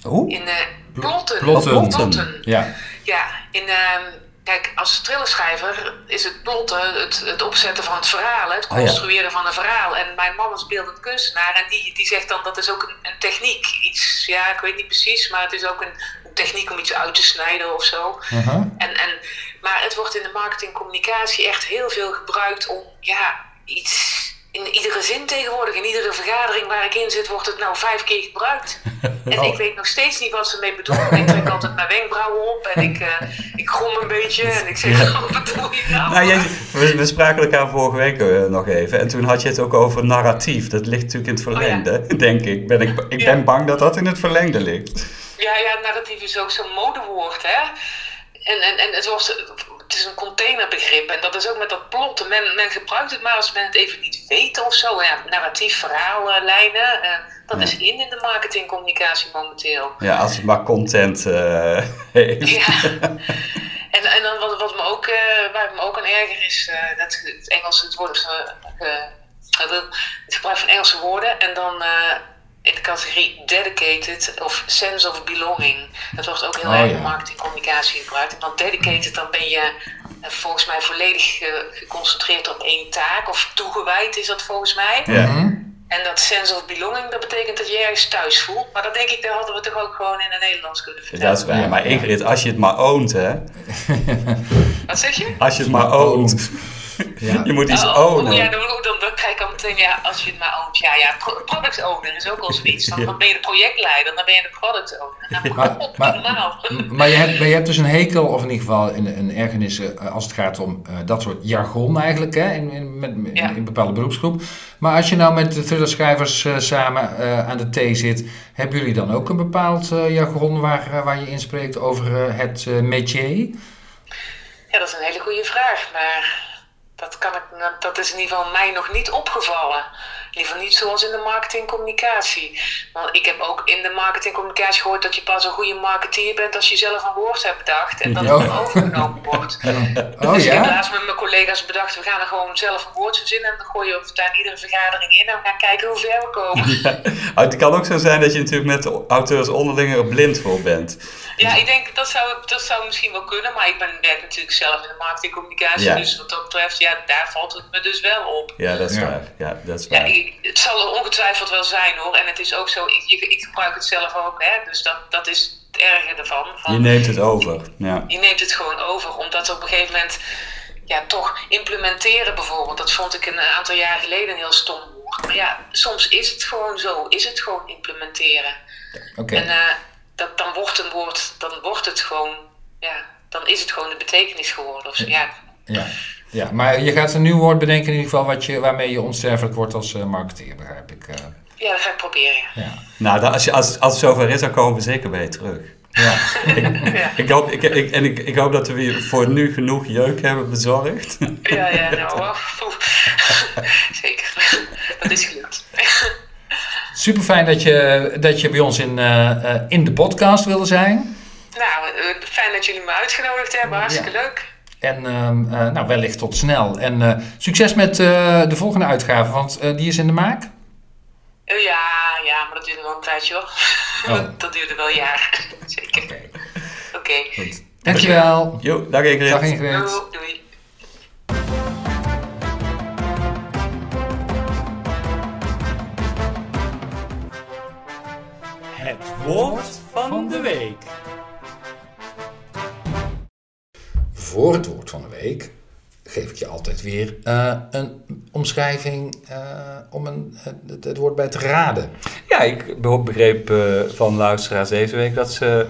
Speaker 1: Hoe?
Speaker 3: In, eh plotten.
Speaker 2: plotten.
Speaker 3: Plotten.
Speaker 2: ja.
Speaker 3: Ja, in, ehm, kijk, als thrillerschrijver is het plotten, het, het opzetten van het verhaal, hè, het
Speaker 1: ja.
Speaker 3: construeren van een verhaal. En mijn man is beeldend kunstenaar en die, die zegt dan dat is ook een, een techniek. Iets, ja, ik weet niet precies, maar het is ook een, een techniek om iets uit te snijden of zo.
Speaker 2: Aha.
Speaker 3: En, en, maar het wordt in de marketingcommunicatie echt heel veel gebruikt om ja, iets. In iedere zin tegenwoordig, in iedere vergadering waar ik in zit, wordt het nou vijf keer gebruikt. En
Speaker 1: Oh.
Speaker 3: ik weet nog steeds niet wat ze mee bedoelen. Ik trek altijd mijn wenkbrauwen op en ik, eh, ik grom een beetje en ik zeg, wat bedoel je nou?
Speaker 1: Nou, jij, we, we spraken elkaar vorige week eh, nog even. En toen had je het ook over narratief. Dat ligt natuurlijk in het verlengde, denk ik. Ben ik, ik
Speaker 3: Oh, Ja.
Speaker 1: ben bang dat dat in het verlengde ligt.
Speaker 3: Ja, ja, narratief is ook zo'n modewoord, hè? En, en, en het, wordt, het is een containerbegrip. En dat is ook met dat plotten. Men, men gebruikt het maar als men het even niet weet of zo. Ja, narratief, verhaallijnen. eh, dat is in in de marketingcommunicatie momenteel.
Speaker 1: Ja, als het maar content eh, heeft.
Speaker 3: Ja. en, en dan wat, wat me ook, eh, waar het me ook aan erger is, eh, dat het Engels, het woord, eh, eh, het gebruik van Engelse woorden en dan eh, in de categorie dedicated of sense of belonging. Dat wordt ook heel
Speaker 2: Oh,
Speaker 3: erg
Speaker 2: ja.
Speaker 3: in marketingcommunicatie gebruikt. En dan dedicated, dan ben je eh, volgens mij volledig eh, geconcentreerd op één taak of toegewijd is dat volgens mij.
Speaker 1: Ja.
Speaker 3: En dat sense of belonging, dat betekent dat je ergens thuis voelt. Maar dat denk ik, dat hadden we toch ook gewoon in het Nederlands kunnen vertellen.
Speaker 1: dus Dat is waar.
Speaker 2: Ja.
Speaker 1: maar Ingrid, als je het maar oont, hè.
Speaker 3: Wat zeg je?
Speaker 1: Als je het maar oont.
Speaker 2: Ja.
Speaker 1: Je moet iets
Speaker 3: Oh, oh,
Speaker 1: ownen.
Speaker 3: ja, dan, dan, dan krijg ik al meteen, ja, als je het maar oont. Ja, ja, pro- product owner is ook al zoiets. Dan, dan ben je de projectleider, dan ben je de product owner. Nou,
Speaker 2: Maar-
Speaker 3: god,
Speaker 2: maar- Mm.
Speaker 3: normaal.
Speaker 2: M- Maar je, hebt, maar je hebt dus een hekel, of in ieder geval een, een ergernis eh, als het gaat om eh, dat soort jargon eigenlijk, hè, in, in, met, in,
Speaker 3: Ja.
Speaker 2: in een bepaalde beroepsgroep. Maar als je nou met de thrillerschrijvers eh, samen eh, aan de thee zit, hebben jullie dan ook een bepaald eh, jargon waar, eh, waar je inspreekt over eh, het eh, métier?
Speaker 3: Ja, dat is een hele goede vraag, maar dat, kan ik, dat is in ieder geval mij nog niet opgevallen. In ieder geval niet zoals in de marketingcommunicatie. Want ik heb ook in de marketingcommunicatie gehoord dat je pas een goede marketeer bent als je zelf een woord hebt bedacht en dat het
Speaker 4: Ja.
Speaker 3: overgenomen wordt.
Speaker 4: Oh
Speaker 3: dus ik heb
Speaker 4: ja?
Speaker 3: laatst met mijn collega's bedacht, we gaan er gewoon zelf een woord verzinnen en dan gooien we het aan iedere vergadering in en we gaan kijken hoe ver we komen.
Speaker 1: Oh,
Speaker 5: Ah, Het kan ook zo zijn dat je natuurlijk met de auteurs onderling er blind voor bent.
Speaker 3: Ja, ik denk dat zou, dat zou misschien wel kunnen, maar ik ben, werk natuurlijk zelf in de marketingcommunicatie,
Speaker 5: Ja.
Speaker 3: dus wat dat betreft, ja, daar valt het me dus wel op.
Speaker 5: Ja, dat is
Speaker 4: Ja.
Speaker 5: waar. Ja, dat is
Speaker 3: Ja,
Speaker 5: waar.
Speaker 3: ik, het zal er ongetwijfeld wel zijn hoor. En het is ook zo, ik, ik, ik gebruik het zelf ook, hè. Dus dat, dat is het erge ervan. Van,
Speaker 5: Je neemt het over. Ja.
Speaker 3: je neemt het gewoon over, omdat op een gegeven moment, ja, toch implementeren bijvoorbeeld. Dat vond ik een aantal jaar geleden een heel stom woord. Maar ja, soms is het gewoon zo, is het gewoon implementeren.
Speaker 4: Oké.
Speaker 3: En eh, dat, dan wordt een woord, dan wordt het gewoon, ja, dan is het gewoon de betekenis geworden. Of zo. Ja,
Speaker 4: Ja. ja, maar je gaat een nieuw woord bedenken in ieder geval wat je, waarmee je onsterfelijk wordt als eh, marketeer, begrijp ik. eh.
Speaker 3: ja, dat ga ik proberen. ja.
Speaker 4: ja.
Speaker 5: Nou, dan- als, je, als, als het zover is, dan komen we zeker bij je terug.
Speaker 4: Ja.
Speaker 5: Ik hoop, ik, ik, en ik, ik hoop dat we je voor nu genoeg jeuk hebben bezorgd.
Speaker 3: Ja, ja, nou, wel. Oeh. zeker. Dat is gelukt.
Speaker 4: Super fijn dat je, dat je bij ons in, eh, eh, in de podcast wilde zijn.
Speaker 3: Nou, eh, fijn dat jullie me uitgenodigd hebben. Hartstikke leuk.
Speaker 4: En ehm, eh, nou, wellicht tot snel. En eh, succes met eh, de volgende uitgave, want eh, die is in de maak.
Speaker 3: Eh, Ja, ja, maar dat duurde wel een tijdje hoor. Dat, dat duurde wel een jaar. Zeker. Oké.
Speaker 4: Dankjewel.
Speaker 5: Jo, dag Ingrid.
Speaker 4: Dag Ingrid.
Speaker 3: Doei, Doei.
Speaker 6: Het woord van de week.
Speaker 2: Voor het woord van de week geef ik je altijd weer eh, een omschrijving eh, om een, het, het woord bij te raden.
Speaker 1: Ja, ik be- begreep eh, van luisteraars deze week dat ze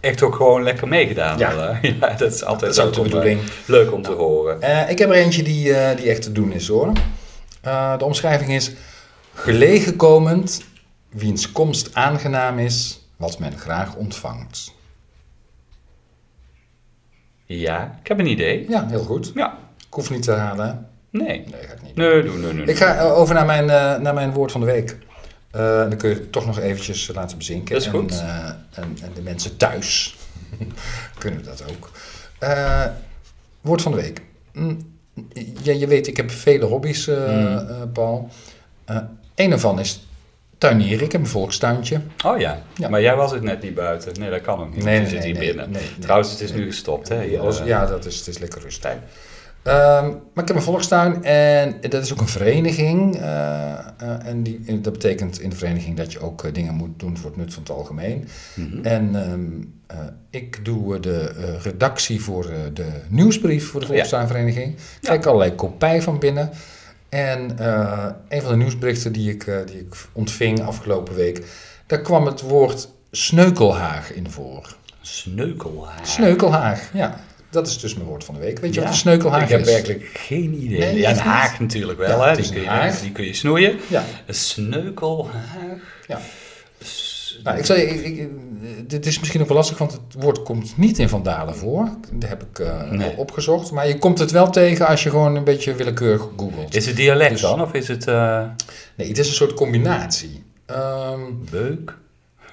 Speaker 1: echt ook gewoon lekker meegedaan
Speaker 2: Ja.
Speaker 1: hadden. Ja, dat is altijd
Speaker 2: Dat is
Speaker 1: leuk
Speaker 2: ook de
Speaker 1: om, eh,
Speaker 2: bedoeling.
Speaker 1: Leuk om te horen.
Speaker 2: Eh, ik heb er eentje die, eh, die echt te doen is hoor. Eh, de omschrijving is gelegenkomend, wiens komst aangenaam is, wat men graag ontvangt.
Speaker 1: Ja, ik heb een idee.
Speaker 2: Ja, heel goed.
Speaker 1: Ja,
Speaker 2: Ik hoef niet te raden. hè?
Speaker 1: nee.
Speaker 2: Nee, ga ik niet. doen.
Speaker 1: Nee, doe, nee, nee.
Speaker 2: Ik ga eh, over naar mijn, eh, naar mijn woord van de week. Eh, dan kun je het toch nog eventjes eh, laten bezinken.
Speaker 1: Dat is goed.
Speaker 2: En, eh, en, en de mensen thuis kunnen dat ook. Eh, woord van de week. Mm, ja, je weet, ik heb vele hobby's, eh,
Speaker 1: Mm.
Speaker 2: eh, Paul. Eh een daarvan is tuinieren. Ik heb een volkstuintje.
Speaker 1: Oh ja.
Speaker 2: Ja.
Speaker 1: maar jij was het net niet buiten. Nee, dat kan ook niet.
Speaker 2: Nee,
Speaker 1: je
Speaker 2: nee,
Speaker 1: zit hier
Speaker 2: nee,
Speaker 1: binnen.
Speaker 2: nee, nee.
Speaker 1: Trouwens, het is nu gestopt. Hè? hier,
Speaker 2: Alles-
Speaker 1: eh,
Speaker 2: ja, dat is, het is lekker rustig. Ehm, maar ik heb een volkstuin en dat is ook een vereniging. eh, eh, en die, en dat betekent in de vereniging dat je ook eh, dingen moet doen voor het nut van het algemeen.
Speaker 1: mhm.
Speaker 2: En ehm, eh, ik doe eh, de eh, redactie voor eh, de nieuwsbrief voor de volkstuinvereniging. Ik krijg allerlei kopij van binnen. En eh, een van de nieuwsberichten die ik, eh, die ik ontving afgelopen week, daar kwam het woord sneukelhaag in voor.
Speaker 1: Sneukelhaar.
Speaker 2: Sneukelhaag, ja. Dat is dus mijn woord van de week. Weet je
Speaker 1: Ja,
Speaker 2: wat een sneukelhaag
Speaker 1: Ik heb
Speaker 2: is?
Speaker 1: werkelijk geen idee.
Speaker 2: Nee,
Speaker 1: ja, een
Speaker 2: echt niet.
Speaker 1: haag natuurlijk wel.
Speaker 2: Ja,
Speaker 1: hè? Dus
Speaker 2: het
Speaker 1: Die,
Speaker 2: is
Speaker 1: kun
Speaker 2: een
Speaker 1: je,
Speaker 2: haag.
Speaker 1: die kun je snoeien.
Speaker 2: Ja,
Speaker 1: Een sneukelhaag.
Speaker 2: ja. Nou, ik zal je, ik, ik- dit is misschien ook wel lastig, want het woord komt niet in Vandalen voor. Dat heb ik eh,
Speaker 1: Nee.
Speaker 2: opgezocht. Maar je komt het wel tegen als je gewoon een beetje willekeurig googelt.
Speaker 1: Is het dialect
Speaker 2: Dus-
Speaker 1: dan? Of is het eh,
Speaker 2: Nee, het is een soort combinatie. Ehm,
Speaker 1: beuk?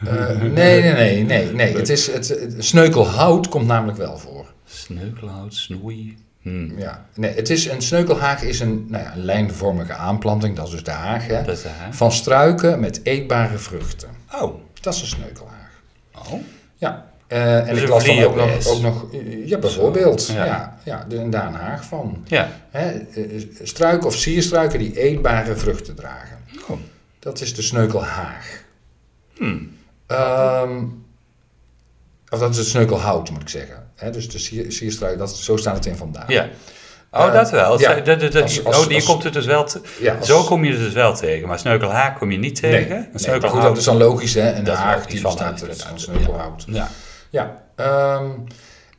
Speaker 2: eh, nee, nee, nee, nee. nee. Het is, het, het- sneukelhout komt namelijk wel voor.
Speaker 1: Sneukelhout, snoei. Hm,
Speaker 2: Ja. Nee, het is, een sneukelhaag is een, nou ja, een lijnvormige aanplanting, dat is dus de haag, hè,
Speaker 1: Dat is de haag.
Speaker 2: van struiken met eetbare vruchten.
Speaker 1: Oh.
Speaker 2: Dat is een sneukelhaag.
Speaker 1: Oh.
Speaker 2: Ja. eh, en
Speaker 1: Dus
Speaker 2: ik
Speaker 1: een
Speaker 2: las dan ook nog,
Speaker 1: vlierenpest.
Speaker 2: ook nog, eh, ja bijvoorbeeld,
Speaker 1: Zo,
Speaker 2: ja.
Speaker 1: ja.
Speaker 2: Ja, de- en daar een haag van.
Speaker 1: Ja.
Speaker 2: Hè, eh, struiken of sierstruiken die eetbare vruchten dragen.
Speaker 1: Oh.
Speaker 2: Dat is de sneukelhaag.
Speaker 1: Hmm.
Speaker 2: Ehm, of dat is het sneukelhout, moet ik zeggen. Hè, dus de sier, sierstruik, dat, zo staat het in vandaag.
Speaker 1: Ja. Oh,
Speaker 2: Ah. Eh,
Speaker 1: dat wel.
Speaker 2: ja.
Speaker 1: Dat- dat- dat-
Speaker 2: Als- als-
Speaker 1: oh, die
Speaker 2: als-
Speaker 1: komt het dus wel te-
Speaker 2: Ja, als-
Speaker 1: Zo kom je het dus wel tegen. Maar sneukelhaag kom je niet
Speaker 2: Nee,
Speaker 1: tegen.
Speaker 2: nee,
Speaker 1: Een
Speaker 2: maar goed, dat is dan logisch, hè? En de
Speaker 1: Dat is
Speaker 2: haag
Speaker 1: logisch,
Speaker 2: die
Speaker 1: van
Speaker 2: bestaat
Speaker 1: de-
Speaker 2: uit
Speaker 1: ja.
Speaker 2: van sneukelhout.
Speaker 1: Ja.
Speaker 2: Ja, ehm,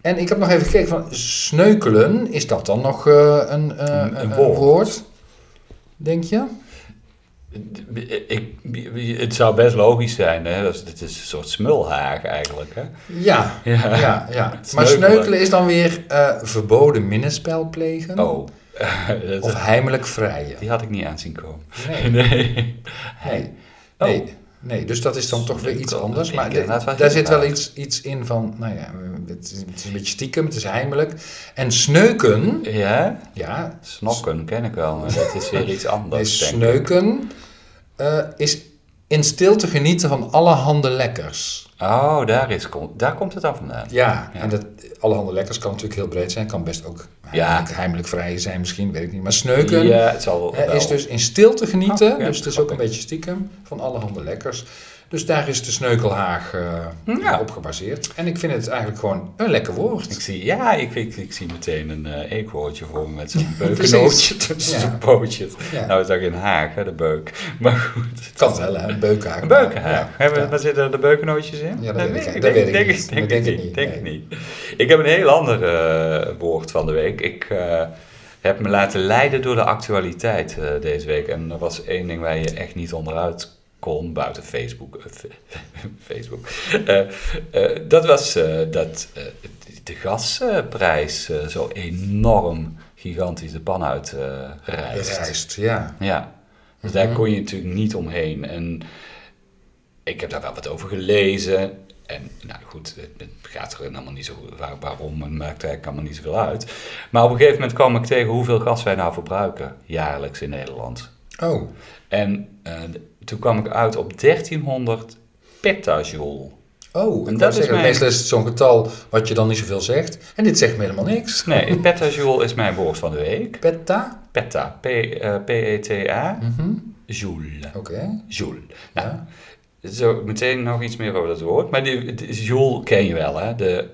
Speaker 2: en ik heb nog even gekeken van sneukelen, is dat dan nog eh, een, eh,
Speaker 1: Een-
Speaker 2: een,
Speaker 1: een
Speaker 2: woord.
Speaker 1: woord.
Speaker 2: Denk je?
Speaker 1: Ik, het zou best logisch zijn. Hè? Dat is, dit is een soort smulhaag eigenlijk. Hè?
Speaker 2: Hm. Ja, ja,
Speaker 1: Ja.
Speaker 2: ja. Maar
Speaker 1: Sneukelen.
Speaker 2: sneukelen is dan weer eh, verboden minnenspel plegen.
Speaker 1: Oh. Dat-
Speaker 2: Of heimelijk vrijen.
Speaker 1: die had ik niet aanzien komen.
Speaker 2: Nee.
Speaker 1: Nee.
Speaker 2: Nee.
Speaker 1: Oh.
Speaker 2: Nee. nee, dus dat is dan toch weer
Speaker 1: Dat
Speaker 2: iets
Speaker 1: kan-
Speaker 2: anders.
Speaker 1: ik
Speaker 2: Maar
Speaker 1: denk inderdaad
Speaker 2: de-
Speaker 1: wel
Speaker 2: daar
Speaker 1: heel
Speaker 2: zit wel
Speaker 1: raar.
Speaker 2: iets, iets in van, nou ja, het is, het is een beetje stiekem, het is heimelijk. En sneuken,
Speaker 1: Ja?
Speaker 2: ja,
Speaker 1: Snokken ken ik wel, maar dat is weer iets
Speaker 2: nee,
Speaker 1: anders. denk ik.
Speaker 2: sneuken eh, is in stilte genieten van allerhande lekkers.
Speaker 1: Oh, daar, is, kom- daar komt het af vandaan.
Speaker 2: Ja, en dat, allerhande lekkers kan natuurlijk heel breed zijn, kan best ook heimelijk, heimelijk vrijen zijn misschien, weet ik niet. Maar sneuken,
Speaker 1: Ja, het zal
Speaker 2: Hè,
Speaker 1: wel.
Speaker 2: is dus in stilte genieten,
Speaker 1: Oh, ja,
Speaker 2: dus het is ook een beetje stiekem, van allerhande lekkers. Dus daar is de sneukelhaag eh,
Speaker 1: Ja.
Speaker 2: op gebaseerd. En ik vind het eigenlijk gewoon een lekker
Speaker 1: Ik
Speaker 2: woord.
Speaker 1: zie, ja, ik, ik, ik zie meteen een eh eekhoortje voor me met zo'n
Speaker 2: precies.
Speaker 1: beukenootje tussen
Speaker 2: Ja.
Speaker 1: zijn pootjes.
Speaker 2: Ja.
Speaker 1: Nou, het is ook in Haag, hè, de beuk. Maar goed.
Speaker 2: Kan wel, hè? Een beukhaag.
Speaker 1: Een beukenhaag.
Speaker 2: Ja,
Speaker 1: Hebben,
Speaker 2: ja.
Speaker 1: Waar zitten de beukennootjes in?
Speaker 2: Ja, dat weet ik- dat weet ik
Speaker 1: denk-
Speaker 2: niet.
Speaker 1: Denk
Speaker 2: Dat
Speaker 1: ik
Speaker 2: denk ik
Speaker 1: niet.
Speaker 2: niet,
Speaker 1: Denk ik
Speaker 2: nee.
Speaker 1: niet. Ik heb een heel ander eh, woord van de week. Ik eh, heb me laten leiden door de actualiteit eh, deze week. En er was één ding waar je echt niet onderuit kon, buiten Facebook. eh, fe- Facebook. Eh, eh, dat was eh, dat eh, de gasprijs eh, zo enorm gigantisch de pan uit eh rijst.
Speaker 2: Rijst, ja.
Speaker 1: Ja, dus daar kon je natuurlijk niet omheen. En ik heb daar wel wat over gelezen. En nou goed, het, het gaat er helemaal niet zo waar- waarom, het maakt eigenlijk allemaal niet zoveel uit. Maar op een gegeven moment kwam ik tegen hoeveel gas wij nou verbruiken jaarlijks in Nederland.
Speaker 2: Oh,
Speaker 1: En eh, toen kwam ik uit op 1300 petajoule.
Speaker 2: oh.
Speaker 1: En
Speaker 2: Ik
Speaker 1: dat
Speaker 2: dat
Speaker 1: is
Speaker 2: zeggen,
Speaker 1: mijn-
Speaker 2: Meestal is het zo'n getal wat je dan niet zoveel zegt. En dit zegt me helemaal niks.
Speaker 1: Nee, petajoule is mijn woord van de week.
Speaker 2: Petta?
Speaker 1: Peta, P- eh, P-E-T-A,
Speaker 2: Mhm.
Speaker 1: joule.
Speaker 2: Oké.
Speaker 1: Joule. Nou, zo meteen nog iets meer over dat woord. Maar die, die- joule ken je wel, hè? De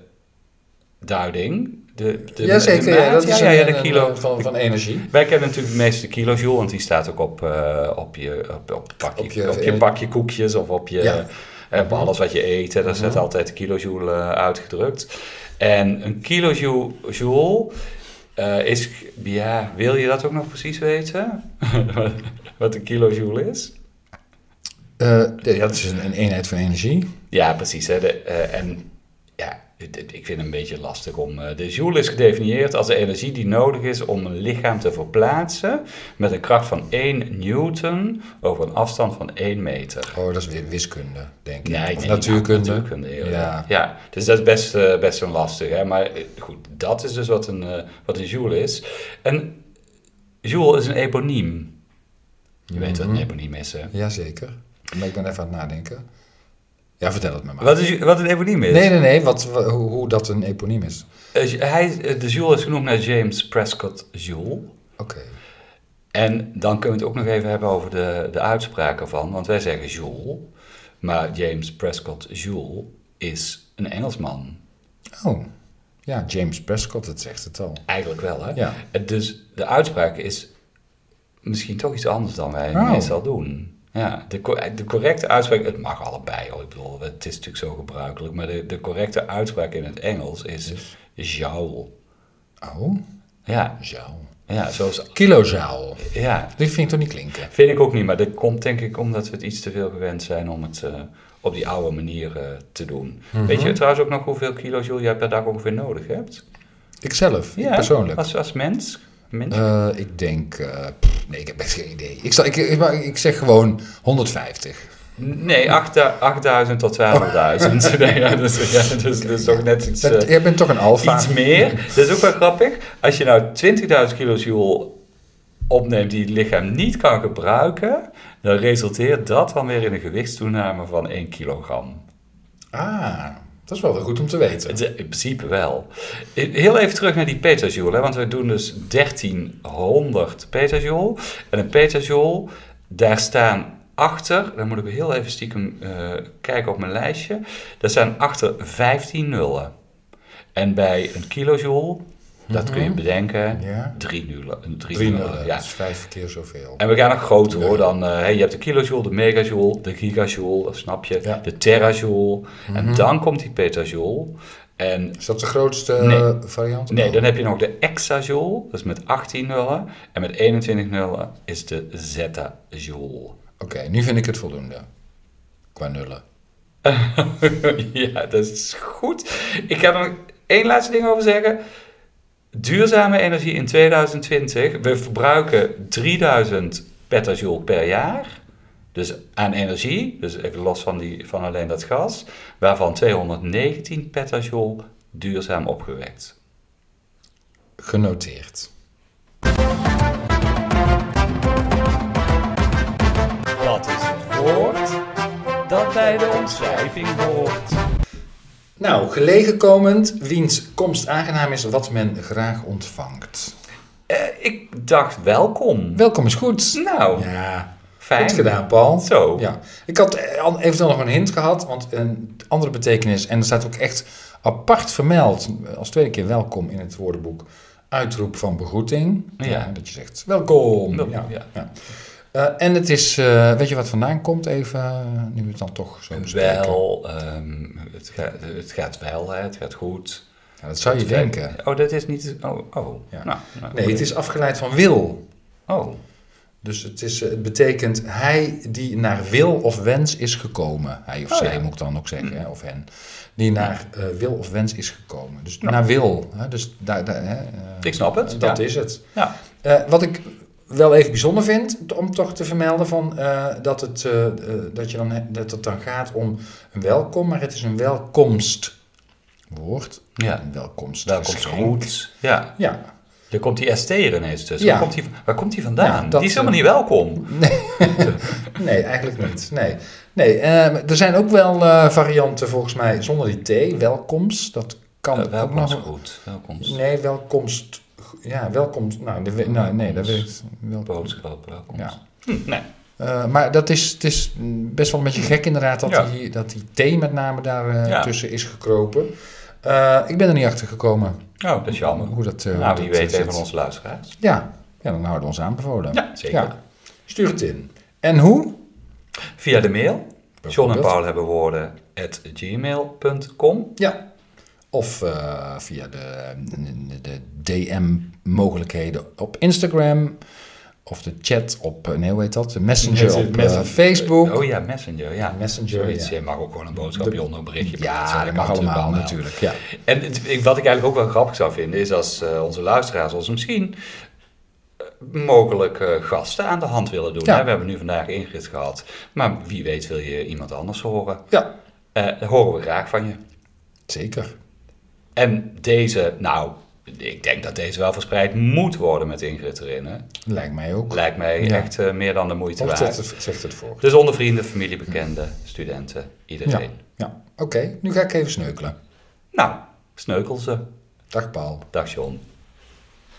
Speaker 1: duiding. De, de,
Speaker 2: Jazeker,
Speaker 1: de
Speaker 2: ja,
Speaker 1: maat.
Speaker 2: dat is
Speaker 1: ja, ja,
Speaker 2: een,
Speaker 1: de
Speaker 2: een-
Speaker 1: kilo.
Speaker 2: van, van energie.
Speaker 1: Wij kennen natuurlijk de meeste kilojoule, want die staat ook op, eh, op, je, op, op, pakje,
Speaker 2: Op
Speaker 1: op,
Speaker 2: je-
Speaker 1: je, bakje koekjes of op je,
Speaker 2: Ja. Mhm.
Speaker 1: eh, op alles wat je eet. Hè, daar staat altijd de kilojoule eh, uitgedrukt. En een kilojoule joule, eh, is, ja, wil je dat ook nog precies weten? wat een kilojoule is?
Speaker 2: Eh, ja, dat is een, een eenheid van energie.
Speaker 1: Ja, precies. Hè? De, eh, en ja, het- het- ik vind het een beetje lastig om. eh, de joule is gedefinieerd als de energie die nodig is om een lichaam te verplaatsen met een kracht van 1 newton over een afstand van 1 meter.
Speaker 2: Oh, dat is weer wiskunde, denk ik.
Speaker 1: Ja, ik
Speaker 2: Of
Speaker 1: denk,
Speaker 2: natuurkunde.
Speaker 1: nou, natuurkunde, heel
Speaker 2: Ja.
Speaker 1: erg. ja. Dus dat is best, eh, best een lastig. Hè? Maar eh, goed, dat is dus wat een, eh, wat een joule is. En joule is een eponiem. Je weet
Speaker 2: Mhm.
Speaker 1: wat een eponiem is, hè?
Speaker 2: Jazeker. Maar ik ben even aan het nadenken. Ja, vertel het me maar.
Speaker 1: Wat, is, wat een eponiem is?
Speaker 2: Nee, nee, nee. Wat, wa- hoe, hoe dat een eponiem is.
Speaker 1: Eh, hij, eh, de Joule is genoemd naar James Prescott Joule.
Speaker 2: Oké.
Speaker 1: En dan kunnen we het ook nog even hebben over de, de uitspraak ervan. Want wij zeggen Joule, maar James Prescott Joule is een Engelsman.
Speaker 2: Oh. Ja, James Prescott, dat zegt het al.
Speaker 1: Eigenlijk wel, hè?
Speaker 2: Ja.
Speaker 1: Eh, Dus de uitspraak is misschien toch iets anders dan wij
Speaker 2: Oh.
Speaker 1: meestal doen. Ja, de, co- eh, de correcte uitspraak, het mag allebei hoor. Ik bedoel, het is natuurlijk zo gebruikelijk. Maar de, de correcte uitspraak in het Engels is joule.
Speaker 2: Oh,
Speaker 1: Ja,
Speaker 2: joule.
Speaker 1: ja, zoals...
Speaker 2: Kilojoule.
Speaker 1: Ja,
Speaker 2: Dit vind ik toch niet klinken?
Speaker 1: Vind ik ook niet, maar dat komt denk ik omdat we het iets te veel gewend zijn om het eh, op die oude manier eh, te doen.
Speaker 2: Mhm.
Speaker 1: Weet je trouwens ook nog hoeveel kilojoule jij per dag ongeveer nodig hebt?
Speaker 2: Ikzelf, ik persoonlijk.
Speaker 1: Als, als mens? mens?
Speaker 2: Eh, ik denk... eh, pff, nee, ik heb echt geen idee. Ik, zal, ik, ik, maar ik zeg gewoon 150.
Speaker 1: Nee, 8 8000 tot 12.000. nee, ja, dus, ja, dus, dus toch net iets,
Speaker 2: Dat,
Speaker 1: eh,
Speaker 2: jij bent toch een alfa?
Speaker 1: iets meer. Dat is ook wel grappig. Als je nou 20.000 kilojoule opneemt die het lichaam niet kan gebruiken, dan resulteert dat dan weer in een gewichtstoename van 1 kilogram.
Speaker 2: Ah, dat is wel weer goed om te weten.
Speaker 1: Het is In principe wel. Heel even terug naar die petajoule, hè, want we doen dus 1300 petajoule. En een petajoule, daar staan achter, dan moet ik heel even stiekem eh, kijken op mijn lijstje, daar staan achter 15 nullen. En bij een kilojoule, dat kun je bedenken,
Speaker 2: Ja.
Speaker 1: 3 nullen. een drie
Speaker 2: 3
Speaker 1: nullen,
Speaker 2: nullen,
Speaker 1: ja.
Speaker 2: dat is vijf keer zoveel.
Speaker 1: En we gaan nog groter hoor. Dan, eh, hey, je hebt de kilojoule, de megajoule, de gigajoule, dat snap je.
Speaker 2: Ja.
Speaker 1: De terajoule. En dan komt die petajoule. En
Speaker 2: Is dat de grootste
Speaker 1: Nee.
Speaker 2: eh, variant?
Speaker 1: Nee,
Speaker 2: Oh.
Speaker 1: dan heb je nog de exajoule, dat is met 18 nullen. En met 21 nullen is de zetajoule.
Speaker 2: Oké, nu vind ik het voldoende. Qua nullen.
Speaker 1: ja, dat is goed. Ik ga er nog één laatste ding over zeggen. duurzame energie in 2020. We verbruiken 3000 petajoule per jaar. Dus aan energie, dus even los van, die, van alleen dat gas, waarvan 219 petajoule duurzaam opgewekt.
Speaker 2: Genoteerd.
Speaker 6: Dat is het woord dat bij de omschrijving hoort.
Speaker 2: Nou, gelegen komend, wiens komst aangenaam is, wat men graag ontvangt.
Speaker 1: Eh, ik dacht welkom.
Speaker 2: Welkom is goed.
Speaker 1: Nou,
Speaker 2: Ja,
Speaker 1: fijn.
Speaker 2: goed gedaan, Paul.
Speaker 1: Zo.
Speaker 2: Ja. Ik had eh, al- eventueel nog een hint gehad, want een andere betekenis, en er staat ook echt apart vermeld, eh, als tweede keer welkom in het woordenboek, uitroep van begroeting.
Speaker 1: Ja.
Speaker 2: dat je zegt welkom.
Speaker 1: Welkom,
Speaker 2: ja.
Speaker 1: Nou, ja.
Speaker 2: ja. Eh, en het is, eh, weet je wat vandaan komt even, eh, nu we het dan toch zo bespreken?
Speaker 1: Wel, ehm, het, gaat, het gaat wel, hè, het gaat goed.
Speaker 2: Ja, dat zou je denken.
Speaker 1: Oh, dat is niet... Oh, oh.
Speaker 2: Ja.
Speaker 1: Nou, nou,
Speaker 2: Nee, het is afgeleid van wil.
Speaker 1: Oh,
Speaker 2: Dus het, is, eh, het betekent hij die naar wil of wens is gekomen. Hij of
Speaker 1: Oh,
Speaker 2: zij
Speaker 1: ja.
Speaker 2: moet ik dan ook zeggen, hè, of hen. Die naar eh, wil of wens is gekomen. Dus naar wil. Hè, dus daar, daar, hè, eh,
Speaker 1: ik snap het.
Speaker 2: dat
Speaker 1: ja.
Speaker 2: is het.
Speaker 1: Ja.
Speaker 2: Eh, wat ik wel even bijzonder vind, om toch te vermelden, van, eh, dat, het, eh, eh, dat, je dan, dat het dan gaat om een welkom, maar het is een welkomstwoord.
Speaker 1: Ja.
Speaker 2: Een welkomst.
Speaker 1: Daar komt
Speaker 2: geschenk.
Speaker 1: goed. Ja,
Speaker 2: Ja,
Speaker 1: daar komt die ST er ineens tussen.
Speaker 2: Ja.
Speaker 1: Waar, komt die, waar komt die vandaan?
Speaker 2: Ja, dat,
Speaker 1: die is helemaal
Speaker 2: eh,
Speaker 1: niet welkom.
Speaker 2: Nee, eigenlijk niet. Nee. Nee, eh, er zijn ook wel eh, varianten volgens mij zonder die T. Welkomst, dat kan
Speaker 1: Eh,
Speaker 2: ook
Speaker 1: welkom
Speaker 2: nog.
Speaker 1: is goed. Welkom is
Speaker 2: Nee, welkomst. Ja, welkomst. Nou, de, we- nou nee, dat weet wel.
Speaker 1: boodschap. Welkom.
Speaker 2: Ja.
Speaker 1: Hm, nee.
Speaker 2: Eh, maar dat is, het is mm, best wel een beetje gek inderdaad dat,
Speaker 1: Ja.
Speaker 2: die, dat die T met name daar eh,
Speaker 1: Ja.
Speaker 2: tussen is gekropen. Eh, ik ben er niet achter gekomen
Speaker 1: Oh, dat is jammer.
Speaker 2: hoe dat. eh, hoe
Speaker 1: nou, wie
Speaker 2: dat, eh,
Speaker 1: weet een
Speaker 2: zit.
Speaker 1: van onze luisteraars.
Speaker 2: Ja. ja, dan houden we ons aanbevolen.
Speaker 1: Ja, zeker.
Speaker 2: Stuur het in. En hoe?
Speaker 1: Via de mail. John en
Speaker 2: Bijvoorbeeld.
Speaker 1: Paul hebben woorden at gmail.com.
Speaker 2: Ja. Of eh, via de, de DM-mogelijkheden op Instagram. Of de chat op, eh, nee, hoe heet dat? De Messenger op eh,
Speaker 1: Messenger.
Speaker 2: Facebook.
Speaker 1: Oh ja, Messenger. Ja,
Speaker 2: Messenger,
Speaker 1: Zoiets.
Speaker 2: ja.
Speaker 1: Je mag ook gewoon een boodschapje onder een berichtje.
Speaker 2: ja, dat mag
Speaker 1: natuurlijk
Speaker 2: allemaal
Speaker 1: wel.
Speaker 2: natuurlijk. Ja.
Speaker 1: En het- ik- wat ik eigenlijk ook wel grappig zou vinden, is als eh, onze luisteraars ons misschien eh, mogelijk eh, gasten aan de hand willen doen.
Speaker 2: Ja.
Speaker 1: Hè? We hebben nu vandaag Ingrid gehad, maar wie weet wil je iemand anders horen.
Speaker 2: ja,
Speaker 1: Eh, dat horen we graag van je.
Speaker 2: zeker.
Speaker 1: En deze, nou, ik denk dat deze wel verspreid moet worden met Ingrid erin. Hè?
Speaker 2: Lijkt mij ook.
Speaker 1: Lijkt mij
Speaker 2: Ja.
Speaker 1: echt eh, meer dan de moeite
Speaker 2: Of
Speaker 1: waard.
Speaker 2: zegt het, zegt het voor.
Speaker 1: Dus onder vrienden, familie, bekenden, studenten,
Speaker 2: Ja,
Speaker 1: iedereen.
Speaker 2: ja. oké. Nu ga ik even sneukelen.
Speaker 1: Nou, sneukel ze.
Speaker 2: Dag Paul.
Speaker 1: Dag John.